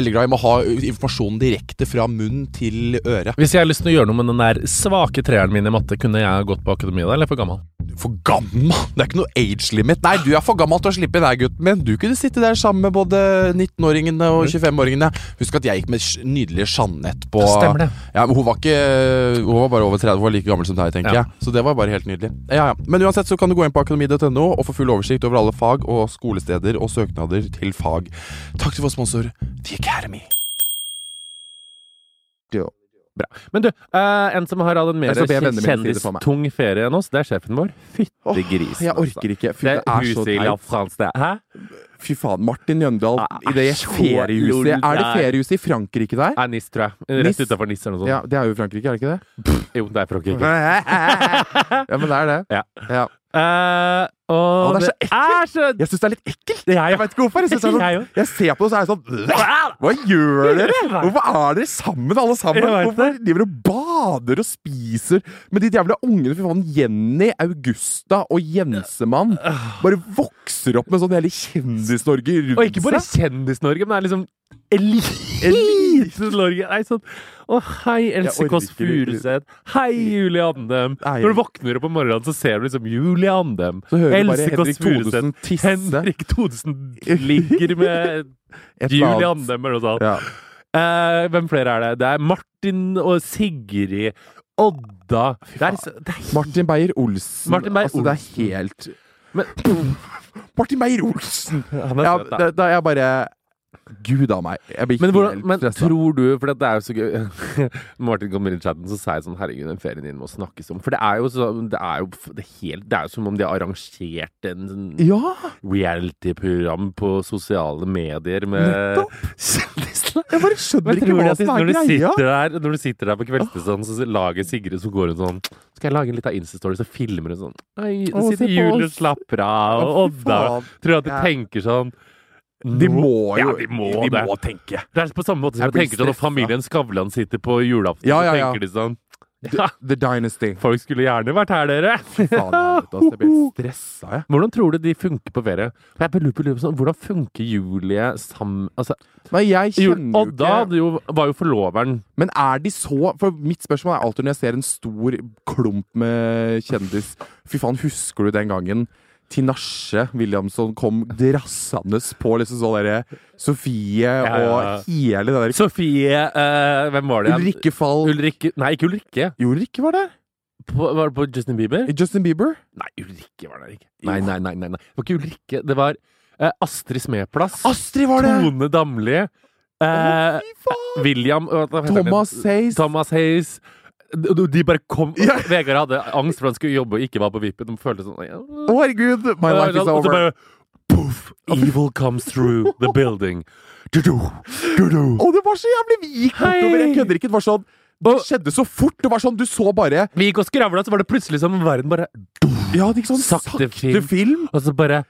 Veldig glad i å ha informasjonen direkte fra munn til øre. Hvis jeg har lyst til å gjøre noe med den der svake treeren min i matte, kunne jeg gått på akademiet da, eller er jeg for gammel? For gammel! Det er ikke noe age limit. Nei, du er for gammel til å slippe inn her, gutten min. Du kunne sitte der sammen med både 19-åringene Mm. og 25-åringene. Husk at jeg gikk med sj- nydelige Jeanette på Stemmer det. Ja, men hun var ikke Hun var bare over 30, hun var like gammel som deg, tenker Ja. jeg. Så det var bare helt nydelig. Ja, ja. Men uansett så kan du gå inn på akademi.no og få full oversikt over alle fag og skolesteder og søknader til fag. Takk til vår sponsor The Academy. Men du, eh, en som har hatt en mer Jeg skal be vennene mine si det for meg. kjendistung ferie enn oss, det er sjefen vår. Fytte grisen. altså. Jeg orker ikke. Fy, Det det er er så huset i La teit. France, det. Hæ? Fy faen, Martin Jøndal Ah, i det så feriehuset. Er det lol. feriehuset i Frankrike der? Nei, Nis, tror jeg. Rett Nice. utenfor Nis eller noe sånt. Ja, det er jo i Frankrike, er det ikke det? Jo, det er Frankrike. ja, men det er det. Ja. Ja. Eh, og Å, det er er så så ekkelt! Jeg syns det er litt ekkelt. Det er Jeg jo vet ikke hvorfor. Jeg, synes det er Jeg sånn, jeg ser på det, så er jeg sånn Hva gjør dere?! Hvorfor er dere sammen, alle sammen? Jeg vet Hvorfor driver dere og bader og spiser med de jævla ungene? Fy faen, Jenny, Augusta og Jensemann bare vokser opp med sånn hele Kjendis-Norge Og ikke bare rundt seg. Kjendis-Norge, men det er liksom Elite-Norge. Nei, sånn Å, hei, Else Jeg orker Kåss ikke det. Furuseth. Hei, Julie Andem. Nei. Når du våkner opp om morgenen, så ser du liksom Julie Andem. Så hører du bare Else Kåss Henrik Thodesen Furuseth. tisse. Henrik *laughs* Thodesen ligger med Et eller Julie annet. Andem, eller noe sånt. Ja. Eh, hvem flere er det? Det er Martin og Sigrid. Odda. Det er, så- det er Martin Beyer-Olsen. Martin Beyer altså, det er helt Men- *laughs* Martin Beyer-Olsen! han er Ja, søt, da. da, da er jeg bare Gud a meg. Jeg blir Men, hvordan, helt men stressa. tror du For det er jo så gøy *laughs* Martin kommer inn i chatten, så sa jeg sånn Herregud, den ferien din må snakkes om. For det er jo, så, det er jo, f- det er helt, det er jo som om de har arrangert en sånn Ja! reality-program på sosiale medier med Nettopp. kjendiser. Jeg bare Men skjønner ikke tror du hva at de- som er når, du greia. sitter der, når du sitter der på kveldsstund, så lager Sigrid som går rundt sånn Skal jeg lage en liten Insta-story, så filmer hun sånn Oi, Å, sitter se på Julie og oss. slapper av, og Å, fy Odda faen. Tror jeg at de Ja. tenker sånn De nå- må jo Ja, de må det. tenke. Det er på samme måte som jeg Jeg tenker sånn blir når familien Skavlan sitter på julaften. Ja, ja, så ja. tenker de sånn The, the Dynasty. Folk skulle gjerne vært her, dere! Faen, jeg, vet, altså, jeg blir stressa, jeg. *laughs* Hvordan tror du de funker på ferie? For Jeg lurer på- lurer på sånn, Hvordan funker Julie sammen altså, Nei, jeg Jul- kjenner Odda jo ikke hadde jo, var jo forloveren. Men er de så For mitt spørsmål er alltid når jeg ser en stor klump med kjendis Fy faen, husker du den gangen Tinashe Williamson kom drassende på liksom sånn derre Sofie ja, ja. og hele den der Sofie eh, Hvem var det? igjen? Ulrikke Fall Ulrikke Nei, ikke Ulrikke. Jo, Ulrikke var der. På, var det på Justin Bieber? Justin Bieber. Nei, Ulrikke var der ikke. Nei, nei, nei. nei, nei. Det var ikke Ulrikke. Det var eh, Astrid Smeplass. Astrid var det! Tone Damli. Eh, Fy faen! William hva heter han? Thomas Hayes. Thomas Hayes. De, de- de bare kom *laughs* Vegard hadde angst for han skulle jobbe og ikke var på vippen. De følte sånn ja. Å, herregud! My life is Og så over. bare Poof! Evil comes through the building. Du-du, du-du. Å, det var så jævlig Vi gikk bortover. Jeg kødder ikke. Det var sånn Det skjedde så fort. Det var sånn Du så bare Vi gikk og skravla, så var det plutselig som om verden bare Ja, det gikk sånn Sakte sakte, film. film. Og så bare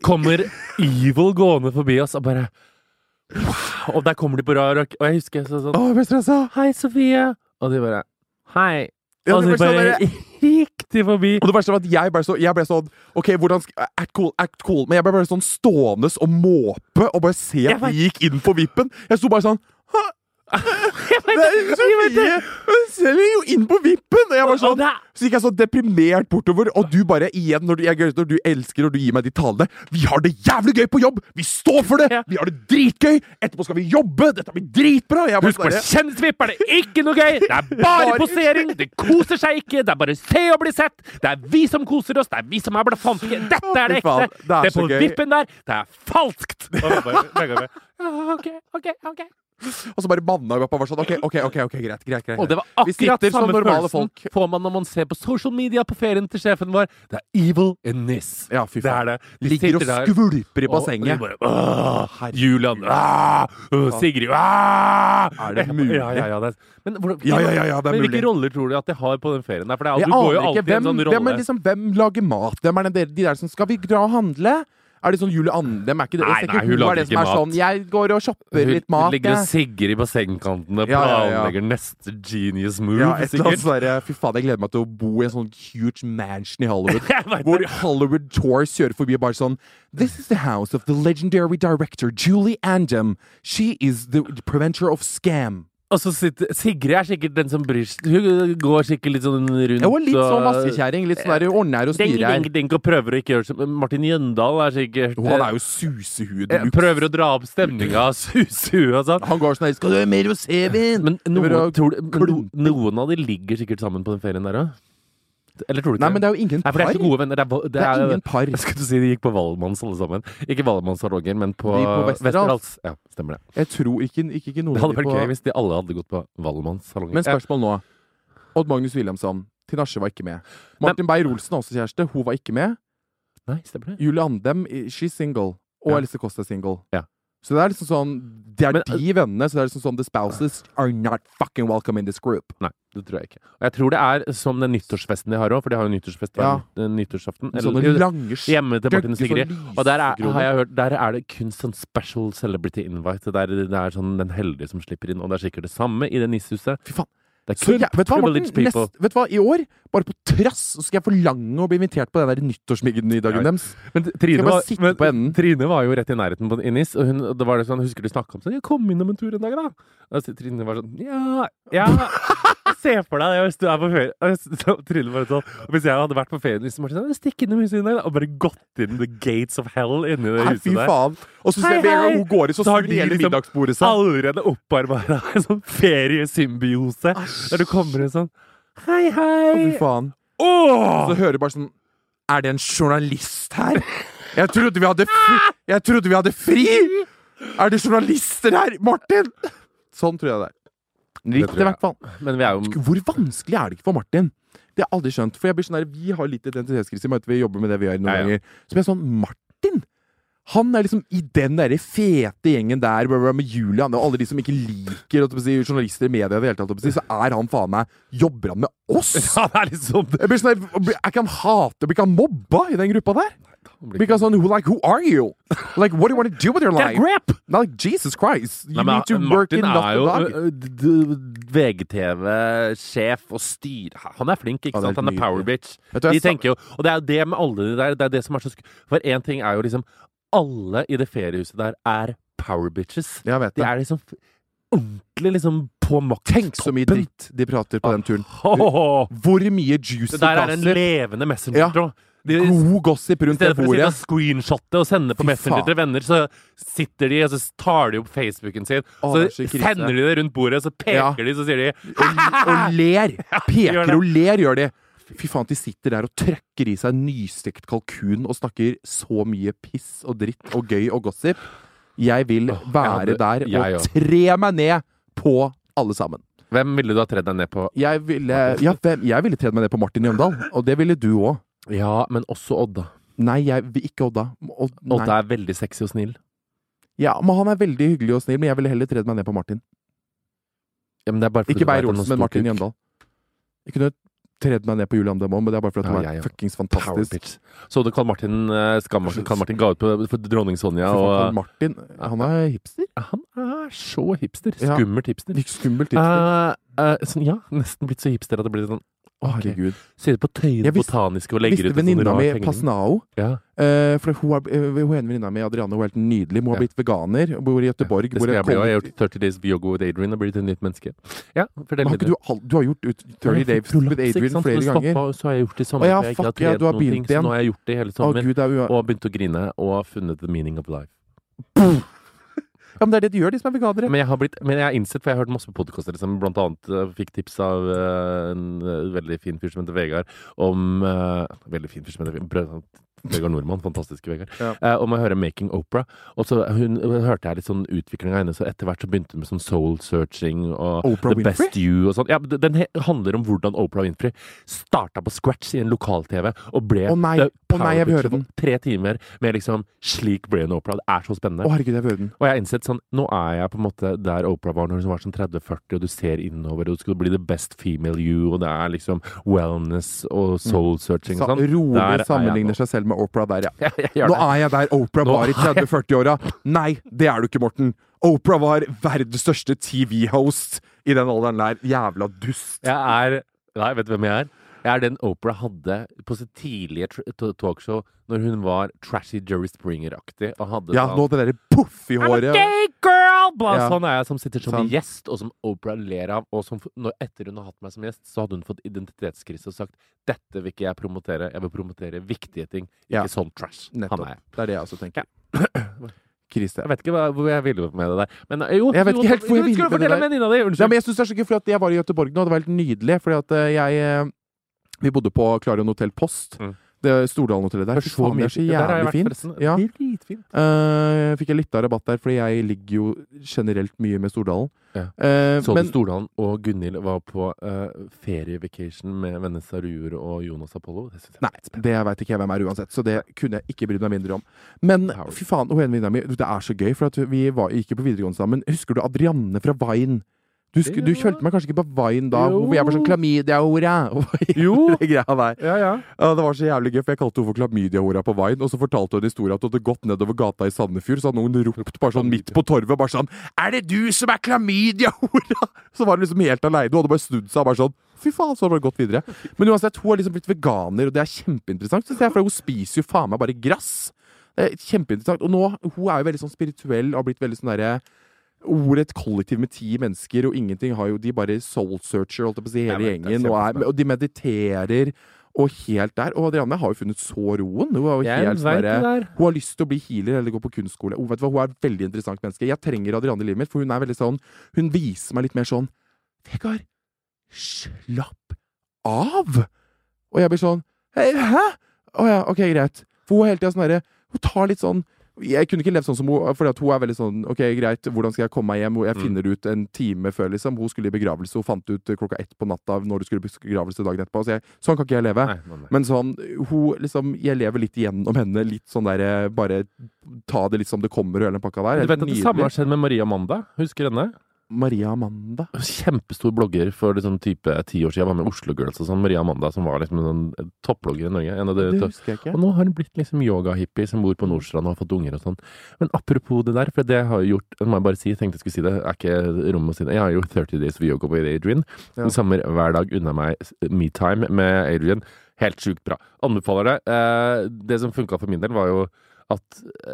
kommer Evil gående forbi oss og bare wow, Og der kommer de på rar rock. Og jeg husker jeg sa sånn Å, jeg ble stressa. Hei, Sofie. Og de bare Hei. Ja, Og det så var sånn bare gikk de forbi. Og det verste var at jeg ble, så, jeg ble sånn OK, hvordan sk- Act cool, act cool. Men jeg ble bare sånn stående og måpe og bare se Jeg at de gikk inn på vippen. Jeg sto bare sånn Hæ? Det er jeg vet Sofie! Hun selger jo inn på vippen! Og jeg var Og sånn det er- Så gikk jeg så deprimert bortover, og du bare igjen, når du, jeg, når du elsker og du gir meg de talene Vi har det jævlig gøy på jobb! Vi står for det! Ja. Vi har det dritgøy! Etterpå skal vi jobbe! Dette blir dritbra! Jeg bare Husk på sånn der- kjendisvipp er det ikke noe gøy! Det er bare Bare- posering! Det koser seg ikke! Det er bare se og bli sett! Det er vi som koser oss! Det er vi som er blafantiske! Dette er det Fy faen, ekte! det er Det så på gøy. *laughs* vippen der, det er falskt! Og jeg bare- jeg bare, «Ja, OK, OK, OK. Og så bare banna pappa og var sånn OK, OK, ok, ok, greit. greit, greit. Og det var Vi akkurat sitter som samme normale følelsen får man når man ser på social media på ferien til sjefen vår. Det er evil in this. Ja, fy Det faen. er det. De Ligger og sitter der, skvulper og de i bassenget. bare, «Åh, Julian. «Åh, øh, Sigrid. «Åh!» Er det mulig? Ja, ja, ja. Det er, men hvordan, Ja, ja, ja, ja, det er men mulig. hvilke roller tror du at de har på den ferien? Der? For det er, Jeg du går jo aner ikke. alltid i Hvem, en sånn hvem, rolle. er liksom, hvem lager mat? Hvem er den der, de der som Skal vi dra og handle? Er det sånn Julie Andem? Er ikke det? Nei, Jeg ser nei, hun er lager det som ikke er mat. Sånn, jeg går og shopper litt hun mat. ligger og jeg. sigger i bassengkantene, Ja, ja, ja. planlegger neste genius move, Ja, et eller annet sikkert. sånn der, Fy faen, jeg gleder meg til å bo i en sånn huge *laughs* mansion i Hollywood. Jeg vet hvor Hollywood Tours kjører forbi og bare sånn This is the house of the legendary director Julie Andem. She is the preventer of scam. Og så sitter Sigrid er sikkert den som bryr seg. Hun går sikkert litt sånn rundt Jeg var litt sånn og- vaskekjerring. Litt sånn der eh, ordner og Ding, styrer ding, ding, og prøver å ikke gjøre som Martin Jøndal er sikkert Og han er jo susehud. eh, Prøver å dra opp stemninga, suse huet og sånn. Han går sånn her Skal du ha mer rosévin? Men noen, Prøver å tror du, men no, klumpe. noen av de ligger sikkert sammen på den ferien der òg? Eller tror du ikke Nei, men det er jo ingen Nei, par. for de er så gode venner. Det er, det Det er er, ingen *laughs* par. Jeg skulle si de gikk på Valmanns, alle sammen. Ikke Valmannssalongen, men på, De på Westerdals. Westerdals. Ja, stemmer det. Jeg tror ikke, ikke, ikke noen Det hadde vært på- gøy hvis de alle hadde gått på Valmannssalongen. Men spørsmål nå. Odd Magnus Williamson. Tinashe var ikke med. Martin Beyer-Olsen har også kjæreste. Hun var ikke med. Ja. Nei, stemmer det. Julie Andem, i- she's single. Og Ja. Else Kåss er single. Ja. Så det er liksom sånn Det er Men- eh, de vennene. Så det er liksom sånn The spouses are not fucking welcome in this group. Nei, det tror jeg ikke. Og jeg tror det er som den nyttårsfesten de har òg, for de har jo nyttårsfest hver eh, nyttårsaften. Sånne Eller- lange sk- Hjemme til Martin og Stygge Sigrid. sånn Og der er, lysekroner. har jeg hørt, der er det kun sånn special celebrity invite. Der det er sånn den heldige som slipper inn, og det er sikkert det samme i det nissehuset. Fy faen. Det er Så kun jeg, vet, du hva, Martin, privileged people. nest, vet du hva, i år, bare på trass, så skal jeg forlange å bli invitert på den der nyttårsmiddagen Ja. deres. Men Trine bare var, sitte men, på enden. Trine var jo rett i nærheten på Innis, og hun, og det var det sånn, husker du snakka om sånn 'Jeg kom innom en tur en dag, da.' Og så Trine var sånn 'Ja, ja *laughs* Se for deg det hvis du er på ferie Og så Trine var sånn og Hvis jeg hadde vært på ferie liksom, hvis Martin hadde sånn, stikk innom huset i dag, da, og bare gått inn the gates of hell inni det Nei, huset fy der faen. Og så Hei, ser jeg med en gang hei. hun går i, så Så har de snur hele liksom middagsbordet seg. Allerede opparbeida en sånn feriesymbiose, der du kommer inn sånn Hei, hei! Fy faen. Åh! Så hører du bare sånn Er det en journalist her? Jeg trodde vi hadde fri! Jeg trodde vi hadde fri! Er det journalister her, Martin? Sånn tror jeg det er. Det tror Litt i jeg. hvert fall. Men vi er jo Hvor vanskelig er det ikke for Martin? Det har jeg aldri skjønt. For jeg blir sånn der, Vi har litt identitetskrise i møte, vi jobber med det vi gjør noen Ja, ja. ganger. Så blir jeg sånn Martin! Han er liksom i den derre fete gjengen der bla, bla, med Julian og alle de som ikke liker holdt jeg på å si, journalister i media, i det hele tatt, holdt jeg på å si, så er han faen meg Jobber han med oss?! Ja, det er liksom det. Jeg blir sånn der, blir- Er ikke han hatet? Blir ikke han mobba i den gruppa der? Blir ikke han sånn who- Like, who are you? Like, what do you want to do with your Get a life? grip! Nei, like, Jesus Christ! You Nei, men need to work Martin in er jo øh, natt og dag. ø, ø, d- d- VGTV-sjef og styr... Han er flink, ikke Ja, det er sant? Han er nydelig. power bitch. Vet du, jeg De sa- tenker jo, og det er jo det med alle de der, det er det som er så sk... For én ting er jo liksom Alle i det feriehuset der er power bitches. Jeg vet De det. er liksom f- ordentlig liksom på makten. Tenk så mye dritt de prater på den turen. Hvor mye juicy Det Ah. der er en gossip. levende messenger-tråd. De- God gossip I rundt det stedet for å sitte bordet. og screenshotte og sende på Fy Messenger faen. til venner, så sitter de og så tar de opp Facebooken sin. Å, så det er så krise. sender de det rundt bordet, så peker Ja. de, så sier de Og ler! *laughs* gjør Peker det. og ler, gjør de. Fy faen, de sitter der og trøkker i seg nystekt kalkun og snakker så mye piss og dritt og gøy og gossip. Jeg vil være hadde- der jeg og også. tre meg ned på alle sammen. Hvem ville du ha tredd deg ned på? Jeg ville, ja, hvem- jeg ville tredd meg ned på Martin Jøndal, og det ville du òg. Ja, men også Odda. Nei, jeg, vil ikke Odda. Odd, nei. Odda er veldig sexy og snill. Ja, men han er veldig hyggelig og snill, men jeg ville heller tredd meg ned på Martin. Ja, men det er bare fordi Ikke du vet at Beyer han har Olsen, stor men Martin kuk. Jøndal. Jeg kunne tredd meg ned på Julian Demon, men det er bare fordi Ja, han jeg er òg. fuckings Power fantastisk. bitch. Så du Carl Martin eh, Skam-Martin? Carl Martin ga ut på for dronning Sonja, Fy faen, Karl og Martin, han er hipster. Han er så hipster. Ja. Skummelt hipster. Litt skummelt hipster. Eh, eh, sånn, ja, nesten blitt så hipster at det blir sånn Å, herregud. Sitter på Tøyen Jeg visste- Botaniske og legger Visste ut en sånn venninna rar mi tegning. Pasnao? Ja. eh, for hun, er, eh, hun ene venninna mi, Adriane, hun er helt nydelig. men Hun har Ja. blitt veganer. og Bor i Gøteborg. Det bor i skal et jeg bli også. Jeg har kollektiv. gjort 30 Days Yoga with Adrian og blitt et nytt menneske. Ja, fortell Men har litt. ikke du, al- du har gjort ut 30 Days with Adrian flere ganger. Så har jeg gjort det i Å sommer. ja, for jeg ikke fuck, ja, trent du har noen begynt ting, igjen. Så nå har jeg gjort det i hele Å sommer. gud, det er jo og begynt å grine og funnet the meaning of life. Ja, men det er det de gjør, de som er veganere. Men jeg har, blitt, men jeg har innsett, for jeg har hørt masse podkaster, liksom, blant annet eh, fikk tips av eh, en eh, veldig fin fyr som heter Vegard, om eh, Veldig fin fyr som heter Vegard Vegard Nordmann, fantastiske Vegard, Ja. eh, om å høre Making Opera. Og så eh, hun, hun hørte jeg litt sånn utvikling av henne, så etter hvert så begynte hun med sånn soul searching og Oprah The Winfrey? Best You og sånn. Ja, men den- den he handler om hvordan Oprah Winfrey starta på scratch i en lokal-TV og ble Å nei, the å nei, jeg power vil bitch høre den. på Tre timer med liksom slik ble hun Oprah. Det er så spennende. Å, herregud, jeg vil høre den. Og jeg har innsett sånn, nå er jeg på en måte der Oprah var når hun var sånn 30-40, og du ser innover, og du skal bli the best female you, og det er liksom wellness og soul searching Mm. Sa, og sånn. Der er rolig jeg sammenligner nå. seg selv med Oprah der, ja. *laughs* Ja, jeg gjør Nå det. er jeg der Oprah Nå *laughs* var i er 30-40-åra. Nei, det er du ikke, Morten. Oprah var verdens største TV-host i den alderen der. Jævla dust. Jeg er Nei, vet du hvem jeg er? Jeg er den Oprah hadde på sitt tidlige tr- to- talkshow når hun var trashy Jerry Springer-aktig og hadde Ja, sånn nå det derre puff i I'm a håret. gay girl! Bla, Ja. Sånn er jeg som sitter som Sånn. gjest, og som Oprah ler av. Og som, f- når, etter hun har hatt meg som gjest, så hadde hun fått identitetskrise og sagt dette vil ikke jeg promotere, jeg vil promotere viktige ting, ikke Ja. sånn trash. Han Nettopp. er jeg. Det er det jeg også tenker. Krise. Jeg vet ikke hva, hvor jeg ville med det der. Men eh, jo, Jeg vet jo, ikke helt hvor jeg ville Skulle med det fortelle der. venninna di! Ja, Unnskyld. men jeg synes det er så gøy, for at jeg var i Gøteborg nå, og det var helt nydelig. Fordi at eh, jeg eh, Vi bodde på Klarion Hotell Post. Mm. Det Stordalen-hotellet der. Det er Fy så faen, det mye er så fint. Der har jeg jævlig vært fint. forresten. Ja. Dritfint. Eh, fikk jeg litt av rabatt der, fordi jeg ligger jo generelt mye med Stordalen. Ja. Eh, Så men du Stordalen og Gunhild var på eh, ferievacation med Vanessa Ruer og Jonas Apollo? Det synes jeg Nei, det veit ikke jeg hvem er uansett, så det kunne jeg ikke brydd meg mindre om. Men Howard. fy faen, hun ene venninna mi, det er så gøy, for at vi var, gikk jo på videregående sammen. Husker du Adrianne fra Vine? Du, husker, du Ja. kjølte meg kanskje ikke på Vine da, Jo. hvor jeg var sånn klamydia-hora? *laughs* Jo. Greia der. Ja, ja. Ja, det var så jævlig gøy, for jeg kalte henne for klamydia-hora på Vine, og så fortalte hun en historie at hun hadde gått nedover gata i Sandefjord, så hadde noen ropt bare sånn midt på torvet, bare sånn Er det du som er klamydia-hora?! *laughs* Så var hun liksom helt aleine, hun hadde bare snudd seg og bare sånn Fy faen, så har hun bare gått videre. Men uansett, hun har liksom blitt veganer, og det er kjempeinteressant, synes jeg, for hun spiser jo faen meg bare grass. Det er kjempeinteressant. Og nå, hun er jo veldig sånn spirituell, og har blitt veldig sånn derre Ord et kollektiv med ti mennesker, og ingenting har jo De bare soul-searcher, holdt jeg på å si, Jeg vet, hele det er gjengen, og, er, kjempespennende. og de mediterer. Og helt der. Og Adrianne har jo funnet så roen. Hun, er jo Jeg helt sånn vet det derre- der. hun har lyst til å bli healer eller gå på kunstskole. Hun, vet du hva, hun er et veldig interessant menneske. Jeg trenger Adrianne i livet mitt, for hun er veldig sånn Hun viser meg litt mer sånn Vegard, slapp av! Og jeg blir sånn «Hei, Hæ? Å ja, ok, greit. For hun er hele tida sånn derre Hun tar litt sånn jeg kunne ikke levd sånn som hun, fordi at hun er veldig sånn Ok, greit, hvordan skal jeg komme meg hjem? Mm. Jeg finner ut en time før, liksom. Hun skulle i begravelse, hun fant ut klokka ett på natta når du skulle i begravelse dagen etterpå. Så jeg, sånn kan ikke jeg leve. Nei, nei, nei. Men sånn, hun liksom Jeg lever litt igjennom henne. Litt sånn der eh, Bare ta det litt som det kommer, og hele den pakka der. Du Helt vet at det samme nydelig. har skjedd med Maria Amanda? Husker henne? Maria Amanda. Kjempestor blogger for liksom type ti år siden. Jeg var med i Oslo Girls og sånn. Maria Amanda, som var liksom en sånn topplogger i Norge. En av de Det tøff- husker jeg Og ikke. nå har hun blitt liksom yogahippie som bor Mm. på Nordstrand og har fått unger og sånn. Men apropos det der, for det har jeg gjort Det må jeg bare si, jeg tenkte jeg skulle si det, er ikke rommet å si det. Jeg har gjort 30 Days of Yoga på Adrian. Ja. Det Samme hver dag unna meg metime med Adrian. Helt sjukt bra. Anbefaler det. Eh, det som funka for min del, var jo at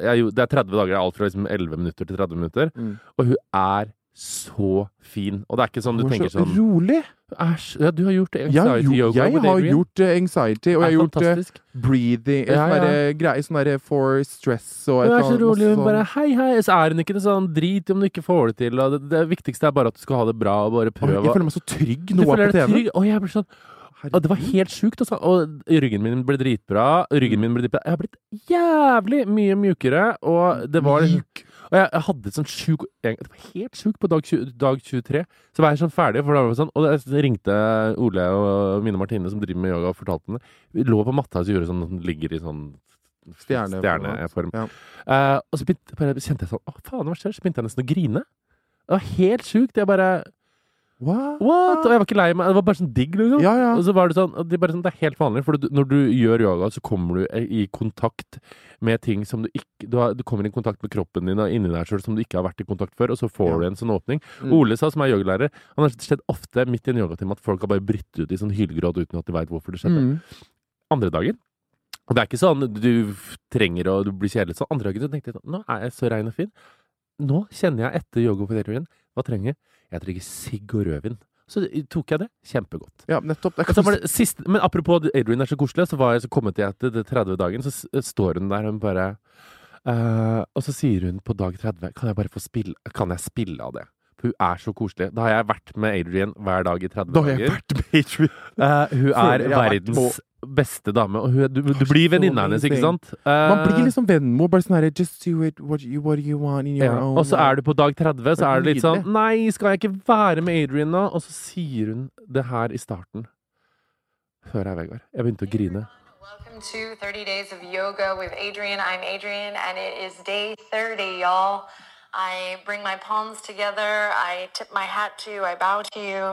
jeg, gjorde- Det er 30 dager, det er alt fra liksom 11 minutter til 30 minutter. Mm. Og hun er så fin. Og det er ikke sånn du Hun er tenker så sånn rolig! Æsj, ja, du har gjort Jeg, har anxiety gjort- yoga jeg with har Adrian. gjort eh, anxiety, og Det jeg er har gjort eh, fantastisk. breathing Ja, Sånn ja. derre grei- sånn derre for stress og sånn. et Hun er så eller annet, rolig. masse Hun bare hei, hei. Så er hun ikke noe sånn drit om du ikke får det til. Og det, det viktigste er bare at du skal ha det bra og bare Å, prøve. Jeg føler meg så trygg du nå på føler deg TV. Mm. trygg. Og jeg blir sånn og det var helt sjukt. Altså. Og ryggen min ble dritbra. Ryggen min ble dritbra. Jeg har blitt jævlig mye mjukere. Og det var liksom- Og jeg, jeg hadde et sånt sjuk Det var helt sjukt på dag, 20, dag 23. Så var jeg sånn ferdig, for da var det sånn. Og jeg ringte Ole og Mine Martine, som driver med yoga, og fortalte henne det. Vi lå på matta og så gjorde sånn at den ligger i sånn Stjerneformat. stjerneform. Ja. Eh, og så begynte, bare, kjente jeg sånn Å, faen, hva skjer? Så begynte jeg nesten å grine. Det var helt sjukt. Jeg bare What? What? Og jeg var ikke lei meg. Det var bare sånn digg, liksom. Ja, ja. Og så var det sånn, og det, er bare sånn, det er helt vanlig, for du, når du gjør yoga, så kommer du i kontakt med ting som du ikke Du, har, du kommer i kontakt med kroppen din og inni deg sjøl som du ikke har vært i kontakt før, og så får Ja. du en sånn åpning. Mm. Ole sa, som er yogalærer, han har skjedd ofte midt i en yogatime at folk har bare brytt ut i sånn hylgråt uten at de veit hvorfor det skjedde Mm. andre dagen. Og det er ikke sånn du f- trenger å bli kjedelig. Så andre dagen så tenkte jeg sånn, nå er jeg så rein og fin. Nå kjenner jeg etter yoga på Delirium, hva trenger jeg? Jeg trenger sigg og rødvin. Så tok jeg det kjempegodt. Ja, nettopp. Det Og så er var det siste, men apropos at Adrian er så koselig, så var jeg så kommet jeg til det 30 dagen, så s- står hun der og hun bare eh, Og så sier hun på dag 30 Kan jeg bare få spille, kan jeg spille av det? For hun er så koselig. Da har jeg vært med Adrian hver dag i 30 Da har jeg dager. vært med Adrian. Eh, hun Føler er jeg har vært verdens beste dame, og hun, er- du, du blir venninna hennes, ikke sant? Man blir Eh, liksom Venmo. Bare sånn her Just do it what you, what you want in your ja. own Og så er du på dag 30, så er det litt sånn Nydelig. Nei, skal jeg ikke være med Adrian nå? Og så sier hun det her i starten. Hør her, Vegard. Jeg begynte å grine. Welcome to 30 Days of Yoga with Adrian. I'm Adrian, and it is day 30, y'all. I bring my palms together, I tip my hat to you, I bow to you.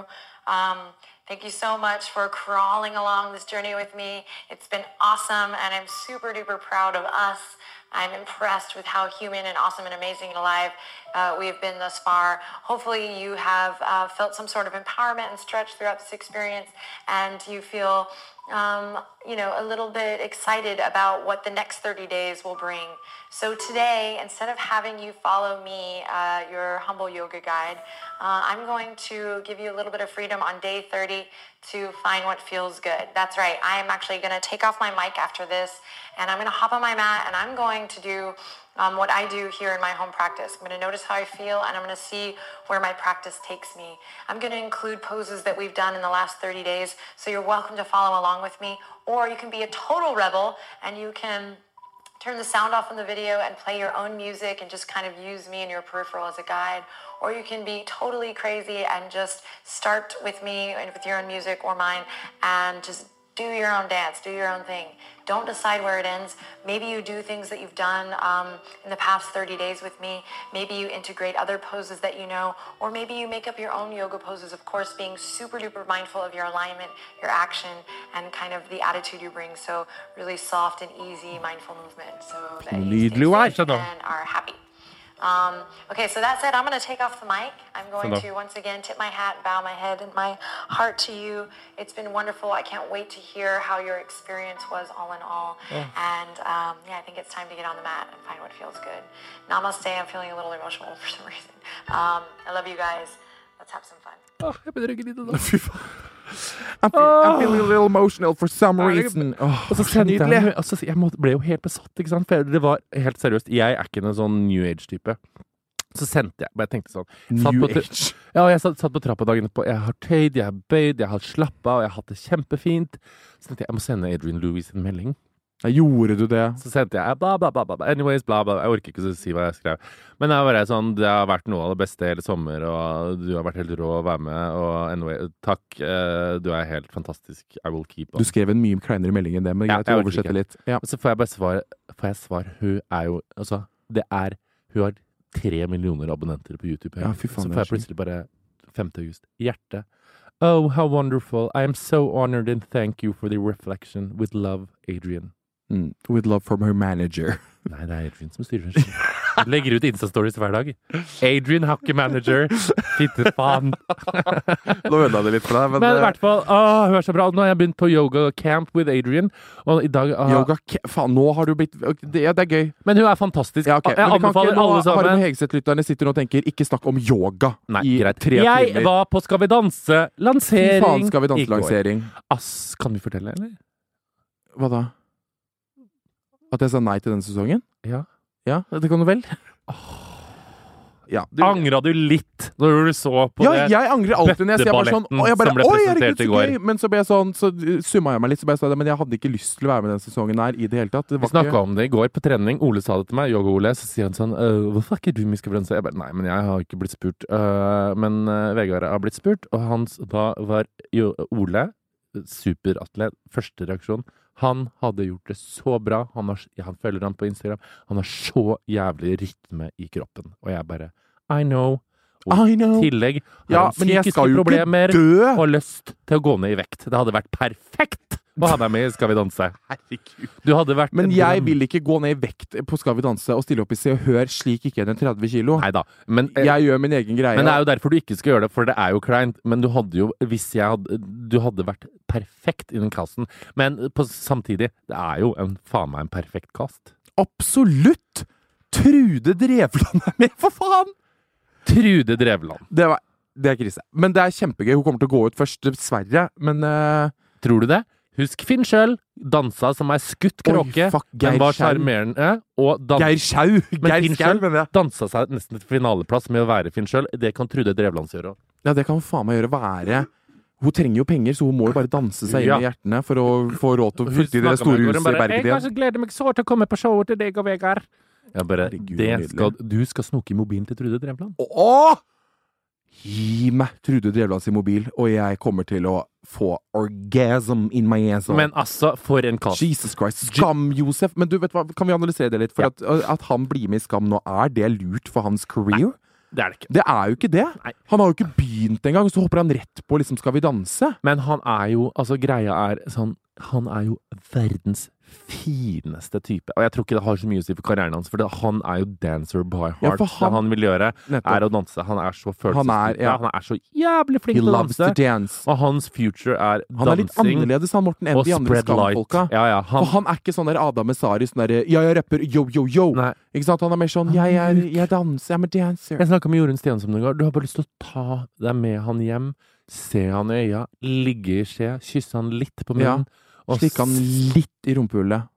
Um, thank you so much for crawling along this journey with me. It's been awesome, and I'm super duper proud of us. I'm impressed with how human and awesome and amazing and alive uh, we have been thus far. Hopefully, you have uh, felt some sort of empowerment and stretch throughout this experience, and you feel um, you know, a little bit excited about what the next 30 days will bring. So today, instead of having you follow me, uh, your humble yoga guide, uh, I'm going to give you a little bit of freedom on day 30 to find what feels good. That's right. I am actually going to take off my mic after this, and I'm going to hop on my mat, and I'm going to do um, what I do here in my home practice. I'm going to notice how I feel and I'm going to see where my practice takes me. I'm going to include poses that we've done in the last 30 days, so you're welcome to follow along with me, or you can be a total rebel and you can turn the sound off in the video and play your own music and just kind of use me and your peripheral as a guide. Or you can be totally crazy and just start with me and with your own music or mine and just do your own dance, do your own thing. Don't decide where it ends. Maybe you do things that you've done um, in the past 30 days with me. Maybe you integrate other poses that you know, or maybe you make up your own yoga poses, of course, being super duper mindful of your alignment, your action, and kind of the attitude you bring. So, really soft and easy, mindful movement. So, that you Nydelig vær, stay safe skjønner du. and are happy. Um, okay, so that said, I'm going to take off the mic. I'm going Hello. to once again tip my hat, bow my head and my heart to you. It's been wonderful. I can't wait to hear how your experience was all in all. And um, yeah, I think it's time to get on the mat and find what feels good. Namaste. I'm feeling a little emotional *laughs* for some reason. Um, I love you guys. Let's have some fun. Åh, jeg begynner å grine nå. I'm, fe I'm feeling a little emotional for some det- reason. *laughs* Åh, Og så så sendte jeg nydelig. den, og så, jeg måtte, ble jo helt besatt, ikke sant? For det var helt seriøst, jeg er ikke noen sånn new age-type. Så sendte jeg, bare tenkte sånn satt New på tra- Age. Ja, og jeg satt, satt på trappa dagen etterpå. Jeg har tøyd, jeg har bøyd, jeg har slappa, og jeg har hatt det kjempefint. Så tenkte jeg jeg må sende Adrian Louis en melding. Nei, Gjorde du det? Så sendte jeg bla, bla, bla, bla, bla. Anyways, bla, bla. Jeg orker ikke å si hva jeg skrev. Men det er bare sånn, det har vært noe av det beste hele sommer, og du har vært helt rå å være med, og anyway, takk. eh, Du er helt fantastisk. I will keep on. Du skrev en mye kleinere melding enn det, men Ja, greit, jeg orker vi ikke. oversetter litt. Ja. Og så får jeg bare svar, får jeg svar Hun er jo Altså, det er Hun har tre millioner abonnenter på YouTube. Ja, fy faen, så det får er jeg plutselig bare 5. august. Hjerte. Oh, how wonderful. I am so honored and thank you for the reflection. With love, Adrian. Mm. With love from her manager. Nei, det er Adrian som styrer. Jeg Legger ut Insta-stories hver dag. Adrian har ikke manager. Fitte *laughs* faen. *laughs* Nå ødela det litt for deg, men, Men i eh, hvert fall, åh, hun er så bra. Nå har jeg begynt på yoga camp with Adrian. Og i dag åh, Yoga ke- Faen, nå har du blitt ok, det, Ja, det er gøy. Men hun er fantastisk. Ja, ok. Jeg Men vi kan anbefaler ikke, nå, alle sammen. Harald Hegseth-lytterne sitter nå og tenker 'ikke snakk om yoga' Nei, i greit. tre jeg timer. var på Skal vi danse-lansering Fy faen, skal vi i går. danselansering? Ass, kan vi fortelle, eller? Hva da? At jeg sa nei til denne sesongen? Ja. Ja, det kan du vel? Ja, du, Angra du litt når du så på ja, det? jeg angrer alltid når jeg ser bare sånn bøtteballetten Å, jeg bare, som ble Oi, herregud, presentert i så går. gøy! Men så, ble jeg sånn, så summa jeg meg litt, så ble jeg sånn Men jeg hadde ikke lyst til å være med denne sesongen her i det hele tatt. Det Vi var snakka ikke om det i går på trening. Ole sa det til meg. Yoga-Ole. Så sier han sånn «Øh, 'Hvorfor er ikke du med i Skal vi danse?' Jeg bare 'Nei, men jeg har ikke blitt spurt'. «Øh, men øh, Vegard har blitt spurt, og hans da var jo, Ole superatlet. Første reaksjon. Han hadde gjort det så bra. Han, har, han følger ham på Instagram. Han har så jævlig rytme i kroppen. Og jeg bare I know. I know! tillegg har Ja, han men jeg psykiske skal jo ikke problemer dø! og lyst til å gå ned i vekt. Det hadde vært perfekt å ha deg med i Skal vi danse. Du hadde vært Men jeg vil ikke gå ned i vekt på Skal vi danse og stille opp i Se og Hør slik ikke enn 30 kilo. Nei da. Men, eh, Jeg gjør min egen greie. men det er jo derfor du ikke skal gjøre det, for det er jo kleint. Men du hadde jo Hvis jeg hadde Du hadde vært perfekt i den casten. Men på, samtidig, det er jo en faen meg en perfekt cast. Absolutt! Trude Drevland er med, for faen! Trude Drevland. Det, var, det er krise. Men det er kjempegøy. Hun kommer til å gå ut først, dessverre. Men eh, Tror du det? Husk Finn sjøl. Dansa som ei skutt Oi, kråke. fuck, Geir Den var Schau. sjarmerende. Og dan Geir Schau! Geir Finn Schau, Schjøll- mener jeg. dansa seg nesten til finaleplass med å være Finn sjøl. Det kan Trude Drevland gjøre òg. Ja, det kan hun faen meg gjøre. Være Hun trenger jo penger, så hun må jo bare danse seg inn i Ja. hjertene for å få råd til å Hun flytte i det snakket store med meg i går, hun huset i bare, Bergen Jeg igjen. kanskje gleder meg så til å komme på showet til deg og Vegard. Jeg bare, Herregud, det nydelig. skal, du skal snoke i mobilen til Trude Drevland. Åh! Gi meg Trude Drevland sin mobil, og jeg kommer til å få orgasm in my ass. Men altså, for en kast. Jesus Christ. Skam, Josef! Men du, vet du hva, kan vi analysere det litt? For at, at han blir med i Skam nå, er det lurt for hans career? Det er det ikke. Det er jo ikke det! Nei. Han har jo ikke begynt engang, så hopper han rett på liksom 'Skal vi danse'? Men han er jo, altså greia er sånn, han er jo verdens fineste type. Og jeg tror ikke det har så mye å si for karrieren hans, for det, han er jo dancer by heart. Ja, for det han- han vil gjøre, Nettopp. er å danse. Han er så følelsesstyrt. Han er- ja. han er så jævlig flink He til å loves to danse. dance. Og hans future er Han er litt dansing annerledes, han Morten, enn og de andre spread light. Skam-folka. Ja, ja, Han, han, han er ikke sånn der Adam Messari, sånn der Ja, jeg rapper, yo, yo, yo. Nei. Ikke sant? Han er mer sånn Jeg, er, jeg danser, I'm a dancer. Jeg snakka med Jorunn Stensom en gang. Du har bare lyst til å ta deg med han hjem, se han i øya, ligge i skje, kysse han litt på munnen. og Slikke han s- litt i rumpehullet.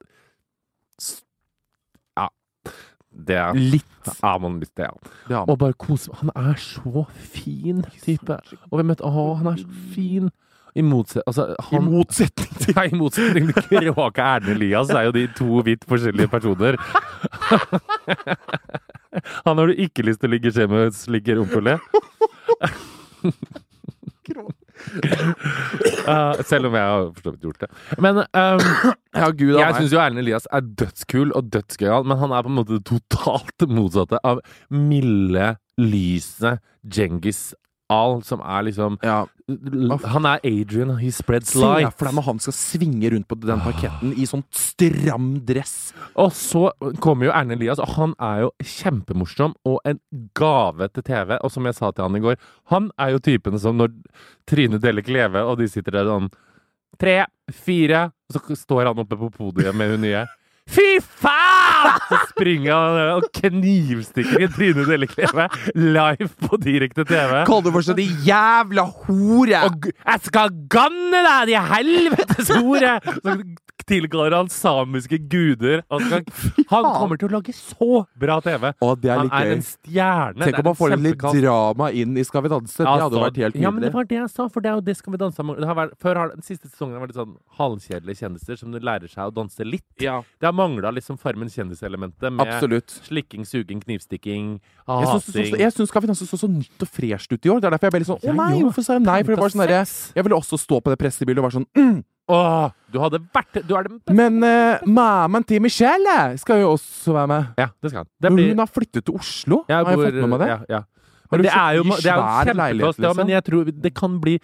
Det er Litt. ja, man, det er. Det har Og man. bare kose Han er så fin type. Og vi møtte Å, han er så fin! I motsetning altså, han, motsetning *laughs* til Nei, i motsetning til *laughs* Kråke Erlend Elias er jo de to vidt forskjellige personer. *laughs* Han har du ikke lyst til å ligge i skje med, ligge i *laughs* rumpehullet. Eh, selv om jeg har for så vidt gjort det. Men *clears throat* ehm, Ja, gud jeg han er syns jo Erlend Elias er dødskul og dødsgøyal, men han er på en måte det totalt *laughs* motsatte av milde, lyse Djengis Al, som er liksom ja. Han er Adrian, he spreads Se light. for deg når han skal svinge rundt på den parketten i sånn stram *laughs* dress. Og så kommer jo Erlend Elias, og han er jo kjempemorsom og en gave til TV. Og som jeg sa til han i går, han er jo typen som når Trine deler kleve, og de sitter der sånn Tre, fire Og så står han oppe på podiet med hun nye. *laughs* Fy faen! Så springer han og knivstikker i Trine Delle Kleve live på direkte TV. Kall det for sånn de jævla hore! Og gu- jeg skal ganne deg, de helvetes *laughs* hore! Så tilkaller han samiske guder. Han, skal, han kommer til å lage så bra TV. Å, det er Han litt er en gøy. stjerne. Tenk Det er om man får en litt kjempekast. drama inn i Skal vi danse. Det Ja, hadde så- vært helt Ja, men det nydelig. var det jeg sa, for det er jo det skal vi danse om. Det har vært, før har, den siste sesongen har vært sånn halvkjedelige kjendiser som lærer seg å danse litt. Det har mangla liksom Farmen kjendiselementet med Absolutt. slikking, suging, knivstikking, Jeg syns det så- hating. Jeg syns Skal vi danse så så nytt og fresht ut i år. Det er derfor jeg ble litt sånn Å Jeg nei, jo. hvorfor sa jeg nei? For det var sånn derre Sex. Jeg ville også stå på det pressebildet og være sånn mm, Åh, du hadde vært Du er den beste. Men eh, mammaen til Michelle skal jo også være med. Ja, det skal han. Det Men blir- Hun har flyttet til Oslo. Jeg har bor- jeg fått med meg det? Ja, ja. Har Men du det er jo, fått det er jo svær kjempeplass, leilighet, ja, men liksom? jeg tror det kan bli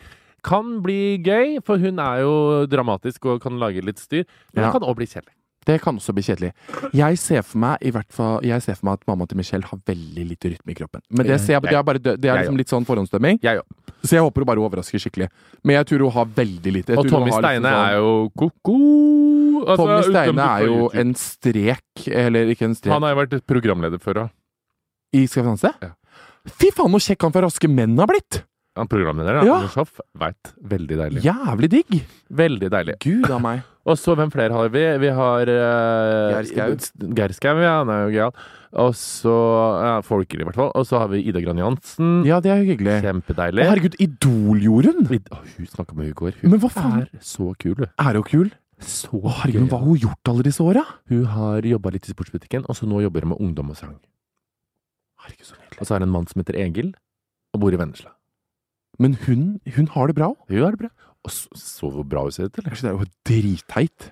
kan bli gøy, for hun er jo dramatisk og kan lage litt styr. Men Ja. det kan òg bli kjedelig. Det kan også bli kjedelig. Jeg ser for meg i hvert fall, jeg ser for meg at mammaen til Michelle har veldig lite rytme i kroppen. Men det, ser jeg, det, er, bare, dø- det er Jeg liksom litt sånn forhåndsdømming. Jeg òg. Så jeg håper hun bare overrasker skikkelig. Men jeg tror hun har veldig lite. Jeg Og tror hun Tommy har liksom Steine sånn- er jo ko-ko. Altså, Tommy utdømt Steine er jo på YouTube. en strek, eller ikke en strek Han har jo vært programleder før òg. I Skal vi danse? Ja. Fy faen, så kjekk han fra Raske menn har blitt! Han programleder, da. Ja. Anders Hoff. Veit. Veldig deilig. Jævlig digg! Veldig deilig. Gud a *laughs* meg. Og så hvem flere har vi? Vi har uh, Geir Skau. Geir Skau, ja. Han er jo gøyal. Og så ja, Folkelig, i hvert fall. Og så har vi Ida Gran Jansen. Ja, det er jo hyggelig. Å, Kjempedeilig. herregud, Idol gjorde hun! Vid- Å, hun snakka med Hugård. Hun Men hva faen? er så kul, hun. Er hun kul? Så Å, herregud, men hva har hun gjort alle disse åra? Hun har jobba litt i sportsbutikken, og så nå jobber hun med ungdom og sang. Herregud, så nydelig. Og så er det en mann som heter Egil, og bor i Vennesla. Men hun, hun har det bra òg. Hun har det bra. Og så, så hvor bra hun ser ut, eller? Det er jo dritteit.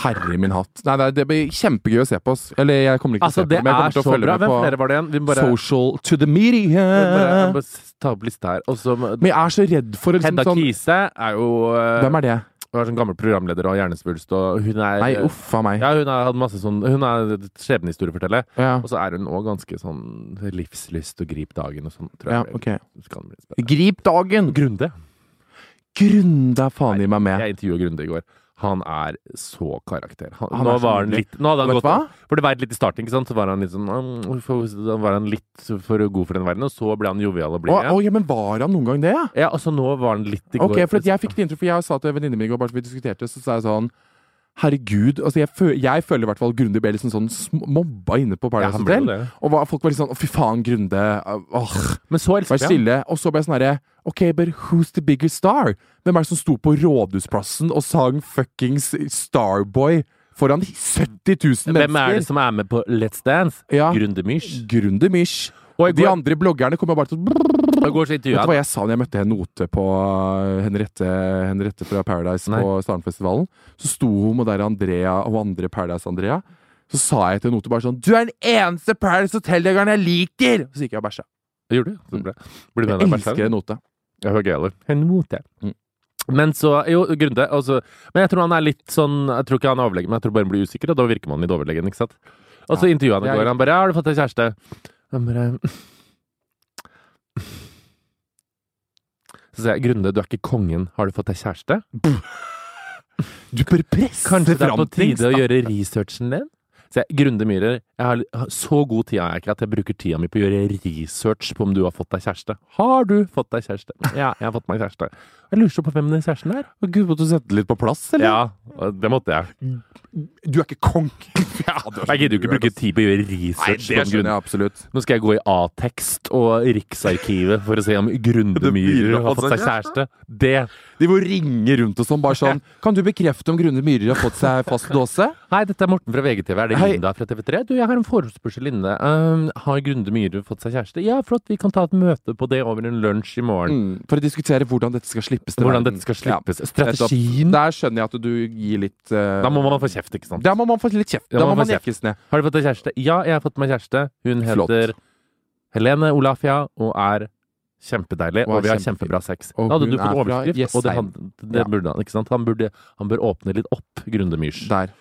Herre min hatt. Nei, nei, det blir kjempegøy å se på. Ass. Eller jeg kommer ikke til å Altså, se på det det, men er jeg kommer til så å følge bra. Hvem med flere var det igjen? Vi må på bare, social to the media. vi må bare, jeg må bare ta opp lista her. Og så Men jeg er så redd for å liksom Hedda sånn Kise er jo eh, Hvem er det? Hun er sånn gammel programleder og hjernesvulst, og hun er Nei, uff a meg. Ja, hun har hatt masse sånn Hun er skjebnehistorieforteller. Ja. Og så er hun òg ganske sånn livslyst og grip dagen og sånn, tror ja, jeg. ok. Så kan det bli spennende. Grip dagen! Grunde. Grunda faen i meg med. Jeg intervjuet Grunde i går. Han er så karakter. Han, Han nå er så var han nydelig. litt Nå hadde han Vet du gått hva? For det var litt i starten, ikke sant? Så var han litt sånn «Mm, hvorfor- Da var han litt for god for den verden, og så ble han jovial og blid Å, igjen. å, ja, men var han noen gang det, ja? Ja, og så nå var han litt i går. liksom. Ok, for at jeg fikk det inntrykk, for jeg sa til venninnen min i går, bare så vi diskuterte, så sa jeg sånn Herregud, altså jeg, fø jeg føler i hvert fall Grunde ble liksom sånn sm- mobba inne Ja, på Paradise han ble jo Hotel. det. Og hva- folk var litt sånn 'Å, fy faen, Grunde. Åh, Men så elsker vær jeg han. stille.' Og så ble jeg sånn herre 'Å, Ok, but who's the bigger star? Hvem er det som sto på Rådhusplassen og sang fuckings Starboy foran 70 000 mennesker? Hvem er det som er med på Let's Dance? Ja. Grundemyrs. Grundemish. Og i De går- andre bloggerne kommer bare sånn, til å I går så Vet du intervjuet hva jeg sa da jeg møtte Henote på uh, Henriette, Henriette fra Paradise Nei. på Starnfestivalen? Så sto hun og der Andrea og andre Paradise-Andrea. Så sa jeg til Henote bare sånn Du er den eneste Paradise Hotel-jegeren jeg liker! Så gikk jeg og bæsja. Gjorde du? Så bra. Blir du med Jeg deg elsker Henote. Jeg hører gøy, eller? En mot, jeg. Mm. Men så, jo, Grunde altså, Men jeg tror han er litt sånn Jeg tror ikke han overlegger, men jeg tror bare han blir usikker, og da virker man litt overlegen, ikke sant? Og så intervjuet han i Jeg- går. Han bare 'Har du fått deg kjæreste?' Han bare Så sier jeg 'Grunde, du er ikke kongen. Har du fått deg kjæreste?' *laughs* Du bør presse Kanskje det er fram på ting, tide å da. gjøre researchen din? Så jeg, Grunde Myhrer, jeg har, har- så god tid har jeg ikke at jeg bruker tida mi på å gjøre research på om du har fått deg kjæreste. Har du fått deg *laughs* kjæreste? Ja, jeg har fått meg kjæreste. Jeg lurer så på hvem den kjæresten er. Gud, måtte du sette det litt på plass, eller? Ja, og det måtte jeg. Du er ikke konk! *laughs* Jeg gidder jo ikke bruke tid på å gjøre Nei, research. det om Grunde. skjønner jeg absolutt. Nå skal jeg gå i A-tekst og Riksarkivet for å se om Grunde Det sånn, blir Myhrer har fått seg kjæreste. Det De må ringe rundt og sånn, bare *laughs* sånn Kan du bekrefte om Grunde Myhrer har fått seg fast dåse? Hei, dette er Morten fra VGTV. Er det Hei. Linda fra TV3? Du, jeg har en forespørsel inne. Um, har Grunde Myhre fått seg kjæreste? Ja, flott, vi kan ta et møte på det over en lunsj i morgen. Mm, for å diskutere hvordan dette skal slippes til Hvordan verden. dette skal Mm. Ja. slippes. Nettopp. Strategien. Der skjønner jeg at du gir litt eh, Da må man få kjeft, ikke sant? Da må man få litt kjeft. Da Da må må man man få jekkes ned. Har du fått deg kjæreste? Ja, jeg har fått meg kjæreste. Hun Flott. heter Helene Olafia og er kjempedeilig, Og er og vi har kjempefin. kjempebra sex. Og Da hadde hun du er fått fra overskrift, og det, Jessheim. han, det burde han, ikke sant? Han, burde, han bør åpne litt opp, Grunde Myhrs. Der.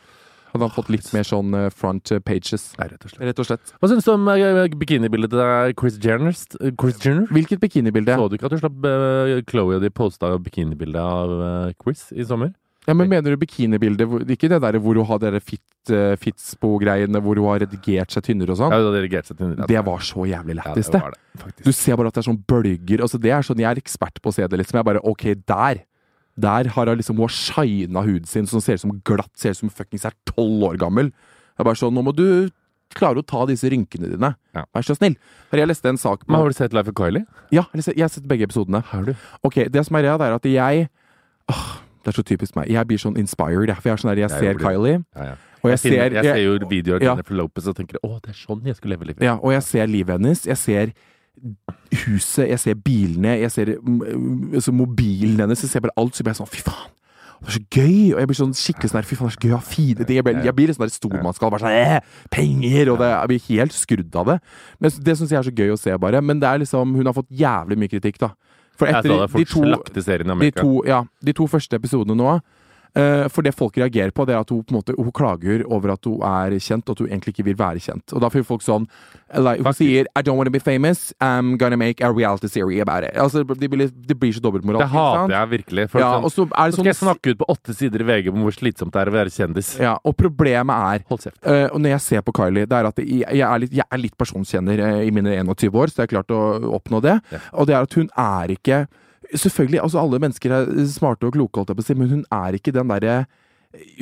Hadde han fått litt mer sånn eh, front pages. Nei, rett og slett. Rett og slett. Hva syns du om eh, bikinibildet til Chris Jenner? Chris Jenner? Hvilket bikinibilde? Så du ikke at du slapp eh, Chloe og de posta bikinibilde av eh, Chris i sommer? Ja, men mener du bikinibilde? hvor- Ikke det der hvor hun har dere fit, eh, fitspo-greiene hvor hun har redigert seg tynnere og sånn? Ja, du hadde reagert seg til den. Det var så jævlig Ja, lættis, det. var det, faktisk. Du ser bare at det er sånn bølger. Altså, det er sånn, Jeg er ekspert på å se det litt, som jeg bare Ok, der! Der har hun liksom Hun har shina huden sin, som ser ut som glatt, ser ut som hun fuckings er tolv år gammel. Jeg er bare sånn Nå må du klare å ta disse rynkene dine. Ja. Vær så snill. Her, jeg leste en sak på Men har du sett Life of Kylie? Ja, jeg har sett- jeg har sett begge episodene. Ok, Det som er greia, det er at jeg Åh, Det er så typisk meg. Jeg blir sånn inspired. jeg, For jeg, er sånn der, jeg Jeg ser blir- Kylie, Ja, ja. og jeg, Jeg, finner, ser, jeg ser jo videoer av ja. Jennifer Lopez og tenker å, det er sånn jeg skulle leve livet. ja, og jeg ser livet hennes. Jeg ser huset, jeg ser bilene, jeg ser mm, altså, mobilen hennes. Jeg ser bare alt, så blir jeg sånn fy faen. Det er så gøy! Og jeg blir sånn skikkelig sånn der, fy faen, det er så gøy å ha fine ting. Jeg blir, jeg blir litt sånn der stormannsgal. Bare sånn eh, penger! Og det, jeg blir helt skrudd av det. Men jeg- det syns jeg er så gøy å se, bare. Men det er liksom Hun har fått jævlig mye kritikk, da. For Jeg etter sa det, de folk to slakte serien i de Amerika. to, ja, de to første episodene nå eh, For det folk reagerer på, det er at hun på en måte Hun klager over at hun er kjent, og at hun egentlig ikke vil være kjent. Og da får folk sånn like, Hun sier 'I don't wanna be famous, I'm gonna make a reality series about it'. Altså, det blir, det blir så dobbeltmoral. Det hater jeg virkelig. For Ja, og sånn, så nå er det skal jeg sånn snakke ut på åtte sider i VG om hvor slitsomt det er å være kjendis. ja, Og problemet er Hold kjeft. Eh, og når jeg ser på Kylie, det er at jeg, jeg, er, litt, jeg er litt personkjenner eh, i mine 21 år, så jeg har klart å oppnå det. Ja. Og det er at hun er ikke Selvfølgelig, altså alle mennesker er smarte og kloke, holdt jeg på å si, men hun er ikke den derre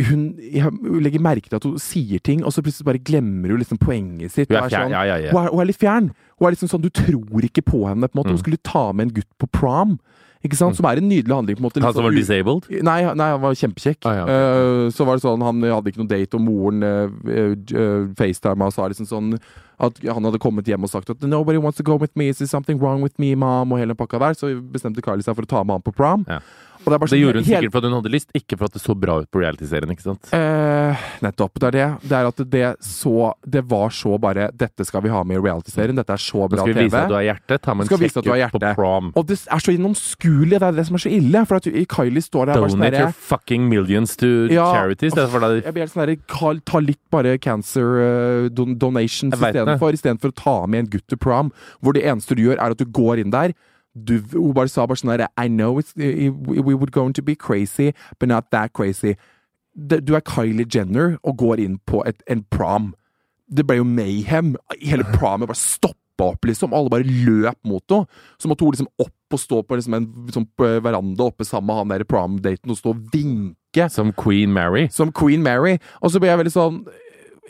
hun, jeg legger merke til at hun sier ting, og så plutselig bare glemmer hun liksom poenget sitt. Hun er og fjern, sånn- ja, ja, ja. Hun, er, hun er litt fjern. Hun er liksom sånn, Du tror ikke på henne. på en måte Mm. Hun skulle ta med en gutt på prom, ikke sant? som er en nydelig handling. på en måte litt Han som sånn var u- disabled? Nei, nei, han var kjempekjekk. Ah, ja, ok. Eh, så var det sånn, Han hadde ikke noe date, og moren uh, facetima og sa liksom sånn at han hadde kommet hjem og sagt at 'nobody wants to go with me, is there something wrong with me, mom?' og hele den pakka der. Så bestemte Kylie seg for å ta med han på prom. Ja. Og er bare Det sånn- gjorde hun hele- sikkert for at hun hadde lyst, ikke for at det så bra ut på realityserien. ikke sant? Eh, nettopp. Det er det. Det er at det så Det var så bare 'Dette skal vi ha med i realityserien'. Dette er så Nå bra skal vi TV. vise at du har hjerte. Ta med Skal en vise sjekk at du har ut på hjerte. prom. Og det er så gjennomskuelig. Det er det som er så ille. For at Kylie står der bare sånn Donate derre your fucking millions to Ja. charities. Det er for deg Jeg blir helt sånn der, Carl, ta litt bare cancer eh, don donations Jeg vet det. istedenfor. Istedenfor å ta med en gutt til prom, hvor det eneste du gjør, er at du går inn der. Du, hun bare sa bare sånn der I know it's, we we would going to be crazy, but not that crazy. Det- Du er Kylie Jenner og går inn på et, en prom. Det ble jo mayhem. Hele promet bare stoppa opp, liksom. Alle bare løp mot henne. Så måtte hun liksom opp og stå på liksom en sånn, eh, veranda oppe sammen med han der prom-daten og stå og vinke som Queen Mary. som Queen Mary. Og så ble jeg veldig sånn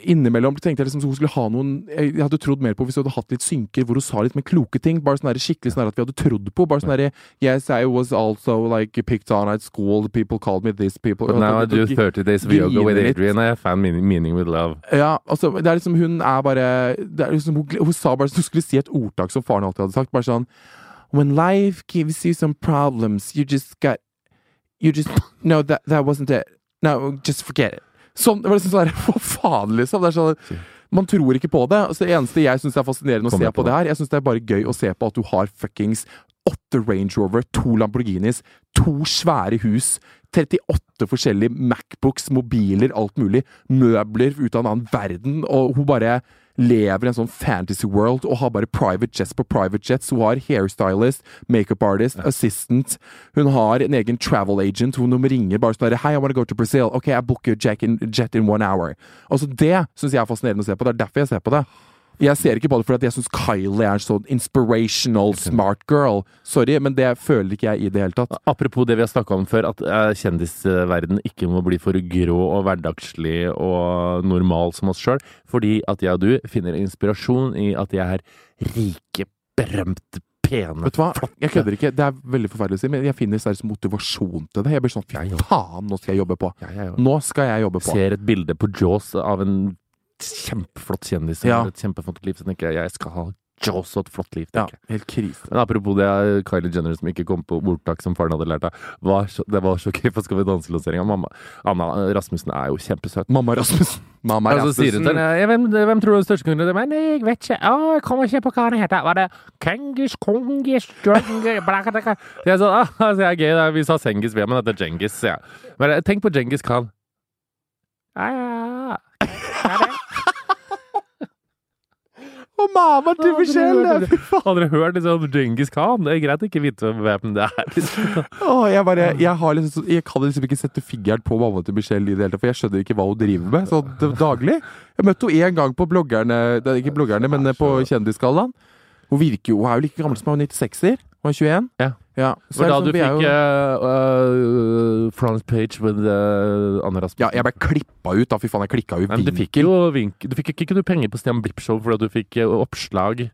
innimellom tenkte jeg liksom hun skulle ha noen Jeg hadde trodd mer på hvis hun hadde hatt litt synker hvor hun sa litt mer kloke ting. Bare sånn der skikkelig sånn der at vi hadde trodd på. Bare sånn derre Yes, I was also like picked on at school. People called me this. People But sånn. now I do 30 days of yoga with Adrian. I found meaning, meaning with love. Ja, altså, det er liksom, hun er bare det er liksom, hun, hun sa bare Hun skulle si et ordtak som faren alltid hadde sagt. Bare sånn When life gives you some problems, you just got You just No, that, that wasn't it. No, just forget it. Sånn, det var liksom sånn der, *laughs* Hva faen, liksom? Det er sånn, man tror ikke på det. Så det eneste jeg syns er fascinerende å Kommer se jeg på på det her, jeg syns det er bare gøy å se på at du har fuckings åtte Range Rover, to Lamborghinis, to svære hus, 38 forskjellige Macbooks, mobiler, alt mulig, møbler ut av en annen verden, og hun bare lever i en sånn fantasy world og har bare private jets på private jets. Hun har hairstylist, makeup artist, assistant. Hun har en egen travel agent. Hun ringer bare sånn der, Hei, I wanna go to Brazil. Ok, I book you a jack in, jet in one hour. Altså, det syns jeg er fascinerende å se på. Det er derfor jeg ser på det. Jeg ser ikke på det fordi at jeg syns Kylie er en sånn inspirational smart girl. Sorry, men det føler ikke jeg i det hele tatt. Apropos det vi har snakka om før, at eh, kjendisverden ikke må bli for grå og hverdagslig og normal som oss sjøl, fordi at jeg og du finner inspirasjon i at jeg er rike, berømte, pene Vet du hva? Jeg kødder ikke. Det er veldig forferdelig å si, men jeg finner seriøst motivasjon til det. Jeg blir sånn fy faen, nå skal jeg jobbe på. Jeg, jeg, Nå skal jeg jobbe på. ser et bilde på Jaws av en kjempeflott kjendis som Ja. har et kjempeflott liv, så tenker jeg jeg skal ha Jaws og et flott liv. Ja, tenker jeg. helt krise. Men apropos det, eh, Kylie Jenner som ikke kom på ordtak som faren hadde lært av, var så, det var så gøy på Skal vi danse-lanseringa. Mamma Anna Rasmussen er jo kjempesøt. Mamma Rasmussen. Mamma Og så Altså, sier hun sånn- til henne «Ja, hvem, hvem tror du er den største kongen? Men jeg vet ikke. Å, jeg kommer ikke på hva han heter. Var det Kengis, Kongis, Djengis blakadaka?» Så Jeg sa ah, altså, det er gøy, da. vi sa Sengis, vi, men dette er Djengis. Ja. Men eh, tenk på Djengis Khan. Ja, ja, ja. Ja, det. Og mamma til Michelle! Hadde dere hørt liksom Djengis Khan? Det er greit å ikke vite hvem det er. Liksom. *laughs* Åh, jeg, bare, jeg, har liksom, så- jeg kan liksom ikke sette fingeren på mamma til Michelle i det hele tatt, for jeg skjønner ikke hva hun driver med sånn d- daglig. Jeg møtte henne én gang på bloggerne, det er ikke bloggerne, men eh, på Kjendisgallaen. Hun virker jo, hun er jo like gammel som meg, hun er 96-er. Hun er 21. Ja. Så For er da det sånn, du vi er fikk jo- eh, eh, front page with eh, Anne Rasmussen. Ja, jeg ble klippa ut, da. Fy faen, jeg klikka jo i Men du vinkel. fikk jo vink... Du fikk ikke, ikke du penger på Stian Blipp-show fordi at du fikk eh, oppslag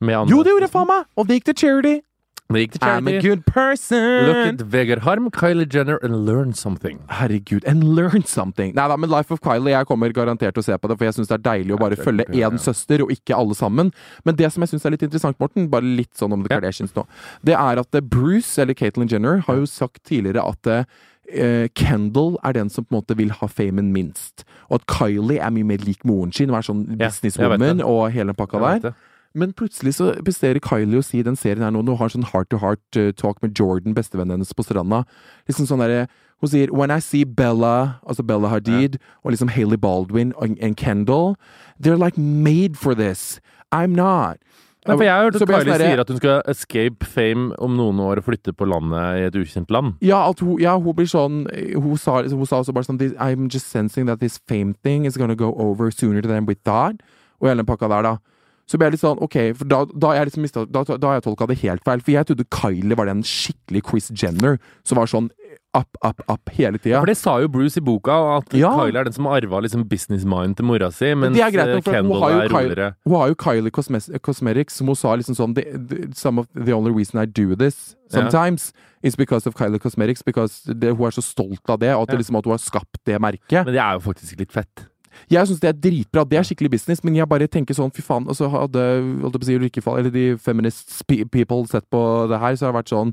med Anne Jo, det gjorde jeg faen meg! Og det gikk til charity. Det gikk til I'm a charity. good person! Look at Vegard Harm, Kylie Jenner and learn something. Herregud, and learn something! Nei da, men Life of Kylie, jeg kommer garantert til å se på det, for jeg syns det er deilig å bare følge én søster, og ikke alle sammen. Men det som jeg syns er litt interessant, Morten, bare litt sånn om The Kardashians nå, det er at eh, Bruce, eller Caitlyn Jenner, har jo sagt tidligere at eh, Kendall er den som på en måte vil ha famen minst, og at Kylie er mye mer lik moren sin og er sånn Ja, jeg vet businesswoman det. og hele den pakka Jeg vet der. det. Men plutselig så presterer Kylie å si i den serien her nå Når hun har sånn heart to heart eh, talk med Jordan, bestevennen hennes, på stranda. Liksom sånn derre Hun sier When I see Bella, altså Bella Hadid, og liksom Hailey Baldwin og, and Kendall They're like made for this. I'm not. Nei, for jeg har hørt Så at blir jeg Kylie sånn derre- sier at hun skal escape fame om noen år og flytte på landet i et ukjent land. Ja, at hun, ja, hun blir sånn Hun sa, hun sa også bare sånn "This- I'm just sensing that this fame thing is gonna go over sooner than we thought. Og hele den pakka der, da. Så ble jeg litt sånn, ok, for da, da, har jeg liksom mistet, da, da har jeg tolka det helt feil. For jeg trodde Kylie var den skikkelig Chris Jenner som var sånn up, up, up hele tida. For det sa jo Bruce i boka, at Ja. Kylie er den som har arva liksom businessmind til mora si, mens eh, det er greit nok, for hun Kendall har jo er Kylie- roligere. Hun har jo Kylie Cosmes Cosmetics, som hun sa liksom sånn the, the, some of the only reason I do this sometimes is because of Kylie Cosmetics. Because det, hun er så stolt av det, og at, det, liksom, at hun har skapt det merket. Men det er jo faktisk litt fett. Jeg syns det er dritbra. Det er skikkelig business. Men jeg bare tenker sånn, fy faen. Og så hadde holdt jeg på å si, rikefall, eller de feminist spe- people sett på det her, så har det vært sånn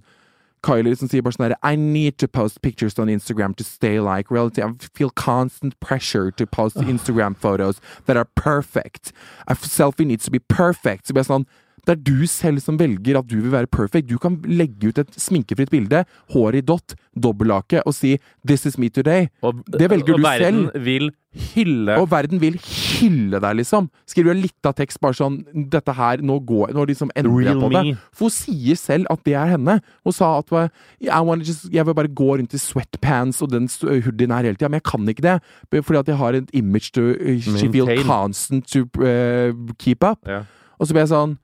Kylie som sier bare sånn der, I need to post pictures on Instagram to stay like reality. I feel constant pressure to Ah. post Instagram photos that are perfect. A f- selfie needs to be perfect. Så blir jeg sånn, det er du selv som velger at du vil være perfect. Du kan legge ut et sminkefritt bilde, hår i dott, dobbeltlake, og si 'This is me today'. Og, det velger og du verden selv. vil hylle Og verden vil hylle deg, liksom. Skriver jo litt av tekst bare sånn Dette her, nå går Nå liksom endrer jeg Real på det. me. For hun sier selv at det er henne. Hun sa at eh, I wanna just, jeg vil bare gå rundt i sweatpants og den s- hoodien her hele tida, men jeg kan ikke det. Fordi at jeg har et image to eh, She feel Maintain. constant to eh, keep up. Ja. Og så ble jeg sånn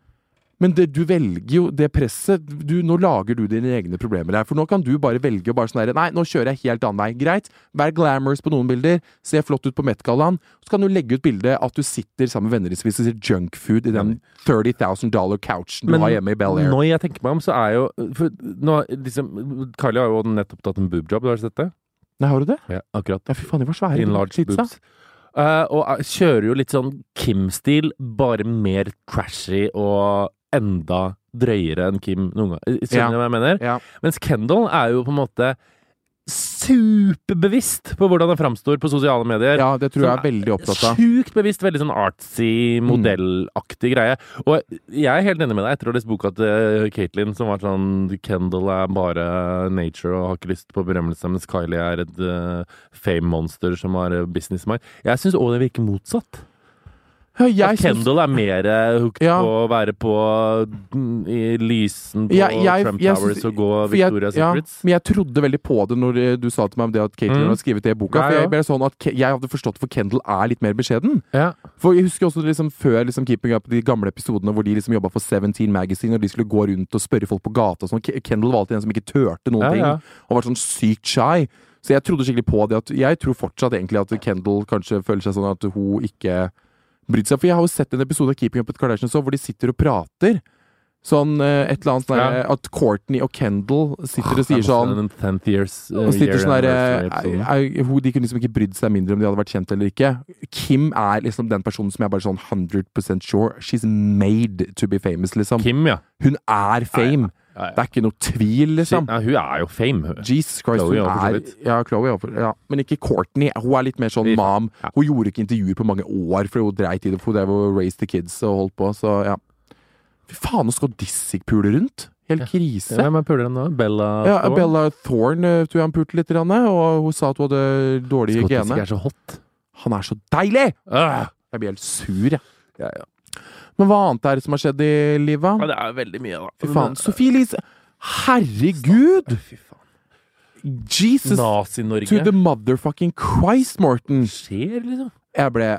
Men det, du velger jo det presset du, Nå lager du dine egne problemer her. For nå kan du bare velge å bare sånn her Nei, nå kjører jeg helt annen vei. Greit. Vær glamorous på noen bilder. Se flott ut på Met-gallaen. Så kan du legge ut bilde at du sitter sammen med venner i spiser junkfood i den 30 000 dollar couchen du Men har hjemme i Bel Air. Når jeg tenker meg om, så er jo for nå, har liksom, Carly har jo nettopp tatt en boobjob, har du sett det? Nei, har du det? Ja, akkurat. Ja, fy faen, de var svære. de Enlarged titsa. boobs. Eh, og eh, kjører jo litt sånn Kim-stil, bare mer trashy og enda drøyere enn Kim noen gang. Eh, Skjønner Ja. du hva jeg mener? Ja. Mens Kendall er jo på en måte superbevisst på hvordan han framstår på sosiale medier. Ja, det tror jeg Som er veldig opptatt av. Mm. Sjukt bevisst, veldig sånn artsy, modellaktig greie. Og jeg er helt enig med deg etter å ha lest boka til Caitlyn, som var sånn Kendall er bare nature og har ikke lyst på berømmelse, mens Kylie er et eh, fame-monster som har eh, businessmind. Jeg syns òg det virker motsatt. Ja, At jeg syns- Kendall er mer eh, hooked Ja. på å være på mm, i lysen på Ja, jeg- Trump jeg Towers syns- og gå for jeg- Victoria's ja, Secrets. Men jeg trodde veldig på det når eh, du sa til meg om det at Caitlyn Mm. hadde skrevet det i boka. Ja, For ja. jeg, ble sånn at Ke- jeg hadde forstått for Kendall er litt mer beskjeden. Ja. For jeg husker også liksom før liksom Keeping Up, de gamle episodene hvor de liksom jobba for Seventeen Magazine, og de skulle gå rundt og spørre folk på gata og sånn. Ke- Kendall var alltid en som ikke turte noen Ja, ja. ting, og var sånn sykt shy. Så jeg trodde skikkelig på det at Jeg tror fortsatt egentlig at Kendall kanskje føler seg sånn at hun ikke brydde seg. For jeg har jo sett en episode av Keeping Up with Kardashians også, hvor de sitter og prater. Sånn eh, et eller annet sånn der, At Courtney og Kendall Ah, sitter og sier sånn Den 10th years, eh, og sitter year sånn der, anniversary-episoden. eh, eh, hun- De kunne liksom ikke brydd seg mindre om de hadde vært kjent eller ikke. Kim er liksom den personen som jeg bare sånn 100 sure She's made to be famous, liksom. Kim, ja. Hun er fame! ja, ja. Det er ikke noe tvil, liksom. Ja, hun er jo fame, hun. Jesus Christ, Chloe hun også, for så er vidt. Ja, Chloé også, for- ja. Men ikke Courtney. Hun er litt mer sånn Litt- mam. ja. Hun gjorde ikke intervjuer på mange år, for hun dreit i det. For hun drev og raised the kids og holdt på, så ja. Fy faen, nå skal Dissig-pule rundt! Helt krise. Hvem er puleren nå? Bella Ja, Thorne? Bella Thorne eh, tror jeg han pulte litt, grann, og hun sa at hun hadde dårlig Scottish hygiene. er så hot. Ah! Han er så deilig! Jeg blir helt sur, jeg. Men hva annet er det som har skjedd i livet? det er veldig mye, da. Fy faen. Sophie Elise! Herregud! Fy faen. Jesus to Nazi-Norge the motherfucking Christ, Morten! skjer, liksom. Jeg ble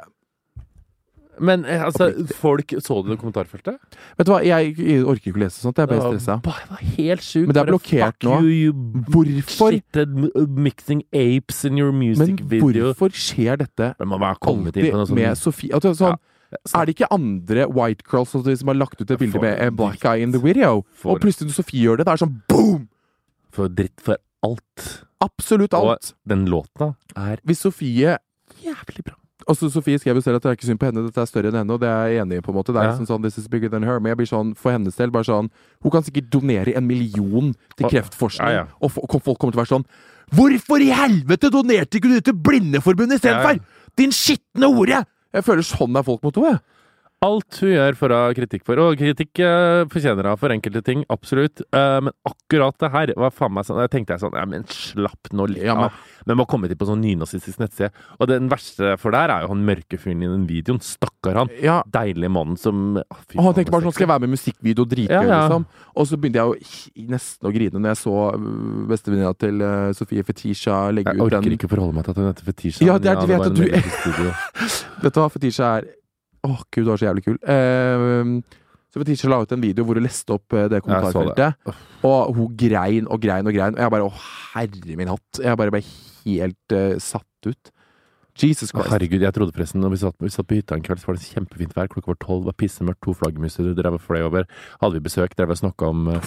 Men eh, altså, folk Så du det kommentarfeltet? Vet du hva, jeg orker ikke å lese sånt. Jeg ble stressa. bare, var helt sjukt. Men det er Bare, blokkert fuck nå. You, you Hvorfor? shitted m- uh, mixing apes in your Men music video. hvorfor skjer dette Det må være kommet inn alltid på noe med sånt. Sophie? Altså, sånn, Er det ikke andre white girls som som har lagt ut et bilde For med a black dritt. guy in the video? For- Og plutselig når Sofie gjør det, det er sånn boom! For dritt for alt. Absolutt alt. Og den låta er Hvis Sofie jævlig bra. Altså Sofie skrev jo selv at det er ikke synd på henne, dette er større enn henne, og det er jeg enig i. på en måte Det er Ja. liksom sånn, this is bigger than her Men jeg blir sånn, for hennes del, bare sånn Hun kan sikkert donere en million til Og- kreftforskning, ja, ja. og fo- kom- folk kommer til å være sånn Hvorfor i helvete donerte ikke du til Blindeforbundet Ja, ja. istedenfor?! Din skitne hore! Jeg føler sånn er folk mot henne. jeg. Alt hun gjør får hun kritikk for, og kritikk eh, fortjener hun for enkelte ting, absolutt. Eh, men akkurat det her var faen meg sånn Jeg tenkte jeg sånn Ja, men slapp nå litt Ja, men- av. Men må komme til på sånn nynazistisk nettside. Og den verste for der er jo han mørke fyren i den videoen. Stakkar han. Ja, Deilige mannen som Å, fy Og han faen, tenkte bare sånn, skal jeg være med i musikkvideo og dritgøy, Ja, ja. liksom. Og så begynte jeg å hi- nesten å grine når jeg så øh, bestevenninna til øh, Sofie Fetisha legge jeg ut orker den. ikke forholde meg til at hun heter Fetisha. Ja, det er- du vet var at en du- veldig fin *laughs* video. Vet du hva, Fetisha er Åh, gud, du er så jævlig kul. Eh, så Fetisha la ut en video hvor hun leste opp eh, det Jeg så det. kommentarfeltet. Og hun grein og grein og grein. Og jeg bare Å, herre min hatt. Jeg bare ble helt eh, satt ut. Jesus Å, Christ. Herregud, jeg trodde forresten Når vi satt, vi satt på hytta en kveld, så var det kjempefint vær. Klokka var tolv, var pissemørkt, to flaggermuser drev og fløy over. Hadde vi besøk, drev og snakka om eh,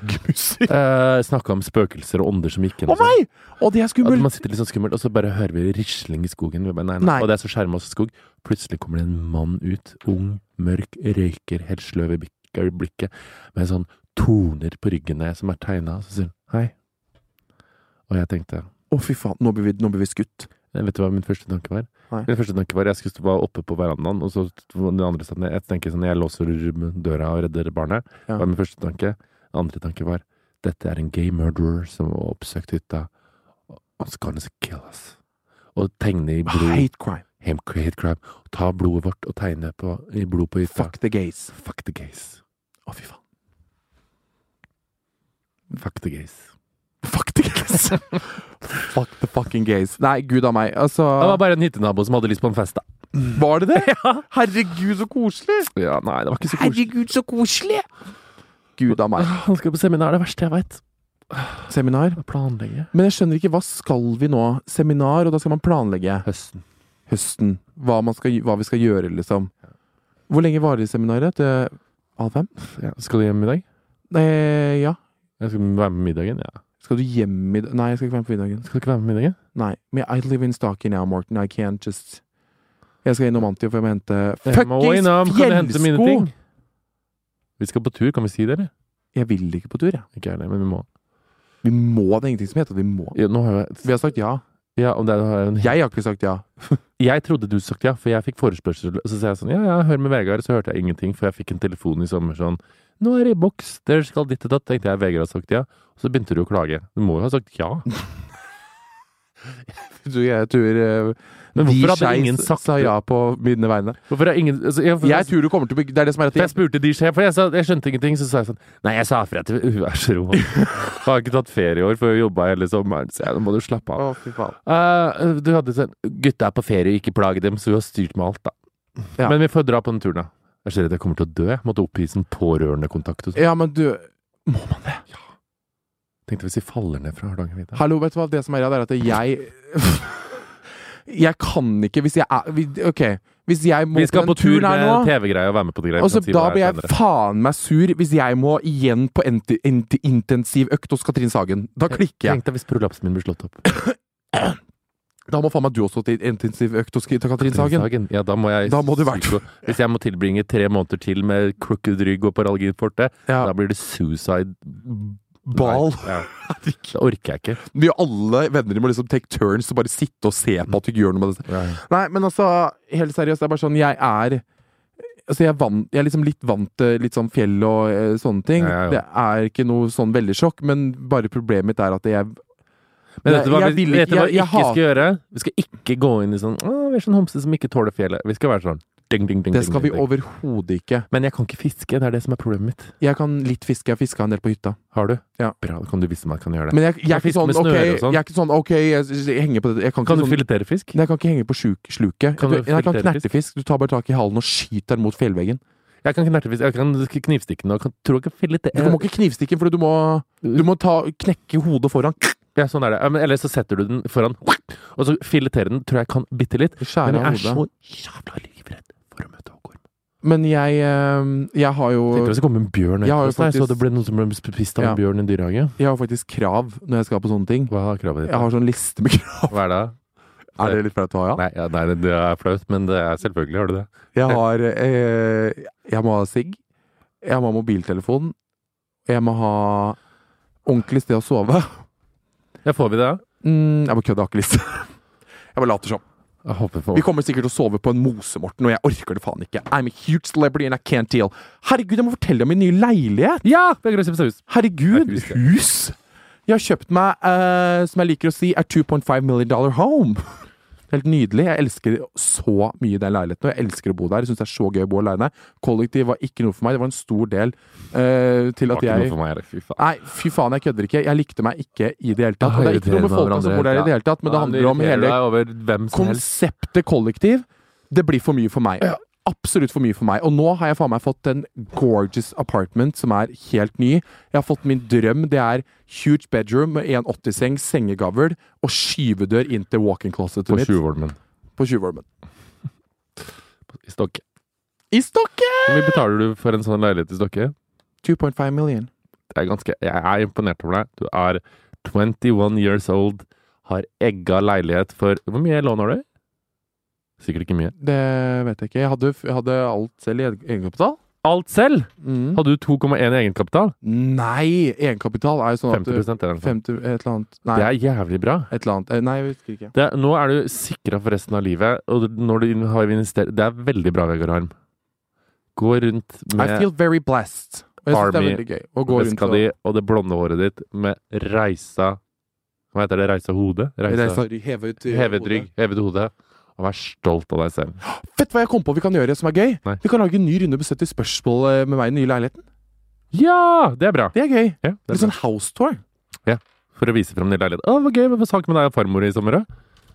Flaggmusikk. Eh, Snakka om spøkelser og ånder som gikk inn. Å og sånn. nei! Og det er At skummelt. man sitter litt sånn skummelt, og så bare hører vi risling i skogen. Vi bare, nei, nei. Nei. Og det er så skjerma skog. Plutselig kommer det en mann ut. Ung, mørk, røyker, helt sløv i bik- i blikket, med sånn toner på ryggen der som er tegna. Så sier han hei. Og jeg tenkte Å, fy faen. Nå blir vi, nå blir vi skutt. eh, Vet du hva min første tanke var? Nei. Min første tanke var Jeg skulle være oppe på verandaen, og så den andre stedet Jeg tenker sånn Jeg låser døra og redder barnet. Ja. Det var min første tanke. Den andre tanke var Dette er en gay murderer som har oppsøkt hytta. Han skal kill us. Og tegne i blod Hate crime. Ham- hate crime. Ta blodet vårt og tegne på, i blod på hytta. Fuck the gays. Fuck the gays. Å, fy faen. Fuck the gays. Fuck the gays. gays. *laughs* Fuck the fucking gays. Nei, gud a meg. Altså Det var bare en hyttenabo som hadde lyst på en fest, da. Var det *laughs* det? Herregud, så koselig! Ja, nei, det var ikke så koselig. Herregud, så koselig! Gud a meg. Han skal på seminar, det er det verste jeg veit. Seminar. Planlegge. Men jeg skjønner ikke, hva skal vi nå? Seminar, og da skal man planlegge Høsten. høsten. Hva, man skal, hva vi skal gjøre, liksom. Hvor lenge varer seminaret? Til halv fem? Ja. Skal du hjem i dag? Eh, ja. Jeg skal være med på middagen. Ja. Skal du hjem i dag? Nei, jeg skal ikke være med på middagen. Skal du ikke være med på middagen? Nei, men I live in Stocky now, Morten. I can't just Jeg skal innom Antio, for jeg må hente Jeg må innom. fuckings Kan du hente mine fjellsko! ting? Vi skal på tur, kan vi si det, eller? Jeg vil ikke på tur, jeg. Ikke jeg heller, men vi må. Vi må, det er ingenting som heter at vi må. Ja, nå har jeg Vi har sagt ja. ja, om det er en Jeg har ikke sagt ja. Jeg trodde du sagt ja, for jeg fikk forespørsel. Og så sa jeg sånn, ja, ja, hør med Vegard. Så hørte jeg ingenting, for jeg fikk en telefon i sommer sånn, nå er det i boks, dere skal ditt og datt. Tenkte jeg, Vegard har sagt ja. Og så begynte du å klage. Du må jo ha sagt ja. Du, jeg tror eh, Men hvorfor de hadde skeis ingen sagt sa det? ja på mine vegne? Hvorfor har ingen altså, jeg, for, Jeg tror du kommer til å bli Det er det som er at for jeg spurte de sjef, for jeg, sa, jeg skjønte ingenting, så sa jeg sånn Nei, jeg sa fra til *laughs* Hun er så rå. Jeg har ikke tatt ferie i år, for jeg jobba hele sommeren, så jeg, nå må du slappe av. Å, fy faen. Eh, du hadde sånn Gutta er på ferie, ikke plage dem, så vi har styrt med alt, da. Ja. Men vi får dra på den turen, da. Jeg ser at jeg kommer til å dø. Jeg måtte oppgi sånn pårørendekontakt og sånn. Ja, men du Tenkte hvis de faller ned fra Hardangervidda. Hallo, vet du hva? Det som er redd, er at *laughs* jeg Jeg kan ikke hvis jeg er vi- Ok, hvis jeg må Vi skal den på tur turen her nå- med TV-greie og være med på de greiene. Og så kan si da hva blir jeg jeg senere. faen meg sur hvis jeg må igjen på enti- enti- intensiv økt hos Katrin Sagen. Da klikker jeg. Tenk deg hvis prolapsen min blir slått opp. Da må faen meg du også til intensiv økt hos Katrin Sagen. Sagen. Ja, da må jeg Da må du vært- psyko- Hvis jeg må tilbringe tre måneder til med crooked rygg og paralginforte, Ja. da blir det suicide Ball. *laughs* Nei, Ja. Det orker jeg ikke. Vi og alle venner må liksom take turns og bare sitte og se på at du ikke gjør noe med det. Nei, men altså, helt seriøst, det er bare sånn Jeg er Altså, jeg er, vant, jeg er liksom litt vant til litt sånn fjell og eh, sånne ting. Ja, ja, ja. Det er ikke noe sånn veldig sjokk, men bare problemet mitt er at jeg Men vet du hva Jeg vi, vil vet ikke- du hva jeg- vi jeg ikke hat- skal gjøre? Vi skal ikke gå inn i sånn Å, vi er sånn homse som ikke tåler fjellet. Vi skal være sånn ding, ding, ding, Det ding, skal vi ding, ding. overhodet ikke. Men jeg kan ikke fiske. Det er det som er problemet mitt. Jeg kan litt fiske. Jeg fiska en del på hytta. Har du? Ja. Bra, da kan du vise meg at jeg kan gjøre det. Men jeg, jeg, er ikke fisk sånn, med ok, snøre og sånn. jeg er ikke sånn OK, jeg, jeg henger på det Jeg kan, kan du ikke sånn, filetere fisk? Nei, jeg kan ikke henge på sjuk, sluket. Kan du du, nei, jeg kan filetere fisk? knerte fisk. Du tar bare tak i halen og skyter den mot fjellveggen. Jeg kan knerte fisk. Jeg kan knivstikke den. og Jeg kan, tror jeg kan Du filetere må ikke knivstikke den, for du må, du må ta, knekke hodet foran. Ja, sånn er det. Ja, men, eller så setter du den foran, og så filetere den. Tror jeg kan bitte litt. Men Skjære jeg av er hodet. så jævla livredd for å møte Håkon. Men jeg, eh, jeg har jo Tenkte hvis det kom en bjørn Jeg etter har jo oss der, så faktisk- det ble noen som ble spist av en Ja. bjørn i en dyrehage. Jeg har faktisk krav når jeg skal på sånne ting. Hva er kravet ditt? Jeg har sånn liste med krav. Hva er det? *laughs* Er det litt flaut å ha, ja? Nei, ja, nei, det er flaut, men det er selvfølgelig har du det. Jeg har eh, Jeg må ha sigg. Jeg må ha mobiltelefon. Jeg må ha ordentlig sted å sove. Ja, får vi det? Mm, jeg bare kødder, jeg har ikke lyst. *laughs* Jeg bare later som. Jeg håper Vi for kommer sikkert til å sove på en mose, Morten, og jeg orker det faen ikke. I'm a huge celebrity and I can't deal. Herregud, jeg må fortelle om min nye leilighet! Ja! Vegard Øsipstad Hus. Herregud, Det er et hus! Jeg har kjøpt meg, eh, som jeg liker å si, er 2.5 million dollar home. *laughs* Helt nydelig. Jeg elsker så mye den leiligheten, og jeg elsker å bo der. Jeg synes det er så gøy å bo alene. Kollektiv var ikke noe for meg. Det var en stor del eh, Det til var at ikke jeg noe for meg, eller? Fy faen. Nei, fy faen, jeg kødder ikke. Jeg likte meg ikke i det hele tatt. Ah, Og det er ikke noe irriterende med folka som bor der i hverandre, det hele tatt, men det Ja, handler om irriterer hele deg over hvem som helst. konseptet kollektiv. Det blir for mye for meg. Absolutt for mye for meg. Og nå har jeg faen meg fått en gorgeous apartment som er helt ny. Jeg har fått min drøm. Det er huge bedroom med 1,80-seng, sengegavl og skyvedør inn til walk-in-closetet På mitt. Tjuvholmen. På Tjuvholmen. I Stokke. I Stokke! Hvor mye betaler du for en sånn leilighet i Stokke? 2.5 million. Det er ganske, jeg er imponert over deg. Du er 21 years old, har egga leilighet for Hvor mye lån har du? Sikkert ikke mye. Det vet jeg ikke. Jeg hadde, jeg hadde alt selv i egen- egenkapital. Alt selv! Mm. Hadde du 2,1 i egenkapital? Nei! Egenkapital er jo sånn 50 at du er det. altså. 50 Et eller annet. Nei, Det er jævlig bra. et eller annet. Eh, Nei, jeg husker ikke. Det, er- nå er du sikra for resten av livet, og du- når du har investert Det er veldig bra, Vegard Harm. Gå rundt I med feel very blessed. Og jeg synes det er Army veldig gøy å gå rundt veska og di og det blonde håret ditt med reisa Hva heter det? Reisa hode? Reisa, heve ut eh, hevet rygg, hevet hode. Og vær stolt av deg selv. Vet du hva jeg kom på vi kan gjøre som er gøy? Nei. Vi kan lage en ny runde på 70 spørsmål eh, med meg i den nye leiligheten. Ja! Det er bra. Det er sånn- gøy. Ja, det er Litt sånn house tour. Ja. for å vise fram din leilighet. Å, hvor gøy! Hva var sak med deg og farmor i sommer òg?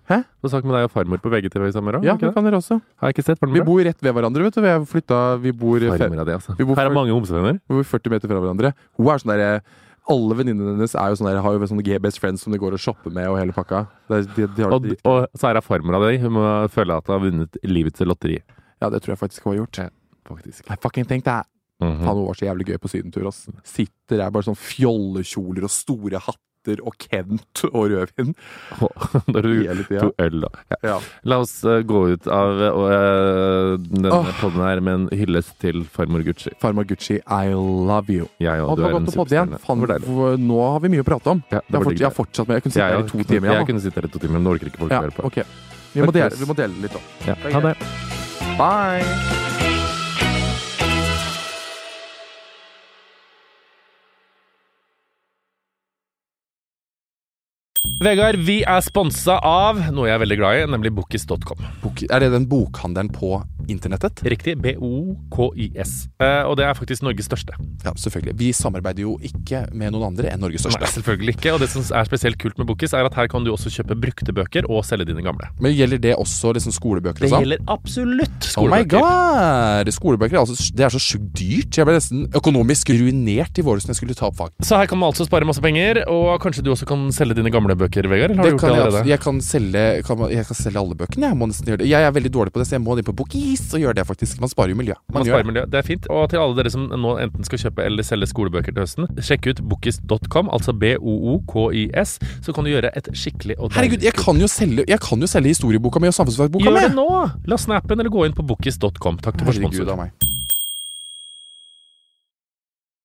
Hæ? Hva sak med deg og farmor på VGTV i sommer òg? Ja, det kan dere også. Har jeg ikke sett? Var den Vi bra? bor rett ved hverandre, vet du. Vi, har flyttet, vi, bor, fe- Farmora di, altså. Vi bor Her er for- mange homsevenner. vi bor 40 meter fra hverandre. Hun er sånn der, alle venninnene hennes er jo sånne der, har jo sånne G-best friends som de går og shopper med og hele pakka. Det, er- de, de har, Og, de, og så er det farmora di. Hun må føle at hun har vunnet livets lotteri. ja, det tror jeg faktisk hun har gjort. Faktisk. Nei, fucking tenk deg! Mhm. *laughs* Faen, hun var så jævlig gøy på sydentur, ass. Sitter der bare sånn fjollekjoler og store hatter og Kent og rødvin Da har du hele tida. to øl, da. Ja. Ja. La oss eh, gå ut av eh, denne Åh. podden her med en hyllest til farmor Gucci. Farmar Gucci, I love you. Jeg Å, og du det var er en godt å podde igjen. superstjerne. Faen, Det var deilig. hvor- nå har vi mye å prate om. Ja, Jeg det har, var fort, jeg har digg. fortsatt med Jeg kunne sitte Jeg, her i to timer jeg igjen. kunne sitte her i to timer, men det orker ikke folk da. å høre Ja, på. ok. Vi må, Takk for dele, oss. vi må dele litt, da. Ja. Ha det. Bye! Vegard, vi er sponsa av noe jeg er veldig glad i, nemlig bokis.com. Bok, er det den bokhandelen på internettet? Riktig. B-O-K-I-S. Eh, og det er faktisk Norges største. Ja, selvfølgelig. Vi samarbeider jo ikke med noen andre enn Norges Nei, største. selvfølgelig ikke. Og det som er spesielt kult med Bokis, er at her kan du også kjøpe brukte bøker og selge dine gamle. Men gjelder det også liksom skolebøker Det og sånn? gjelder absolutt Oh my skolebøker. god! Skolebøker er altså, det er så sjukt dyrt. Jeg ble nesten økonomisk ruinert i våres når jeg skulle ta opp fag. så her kan man altså spare masse penger, og kanskje du også kan selge dine gamle bøker, Vegard? Eller har du kan gjort det jeg, allerede? abs- jeg, kan selge, kan, man- jeg kan selge alle bøkene. Jeg må nesten gjøre det Jeg er veldig dårlig på det, så jeg må inn på Bookies og gjøre det, faktisk. Man sparer jo miljø. Man Man gjør sparer miljø. Det er fint. Og til alle dere som nå enten skal kjøpe eller selge skolebøker til høsten, sjekk ut bokis.com, altså B-O-O-K-I-S, så kan du gjøre et skikkelig og Herregud, jeg kan jo selge, jeg kan jo selge historieboka mi og samfunnsfagboka Gjør mi! det nå! La snappen eller gå inn på bokis.com. Takk til vår Herregud sponsor. av meg.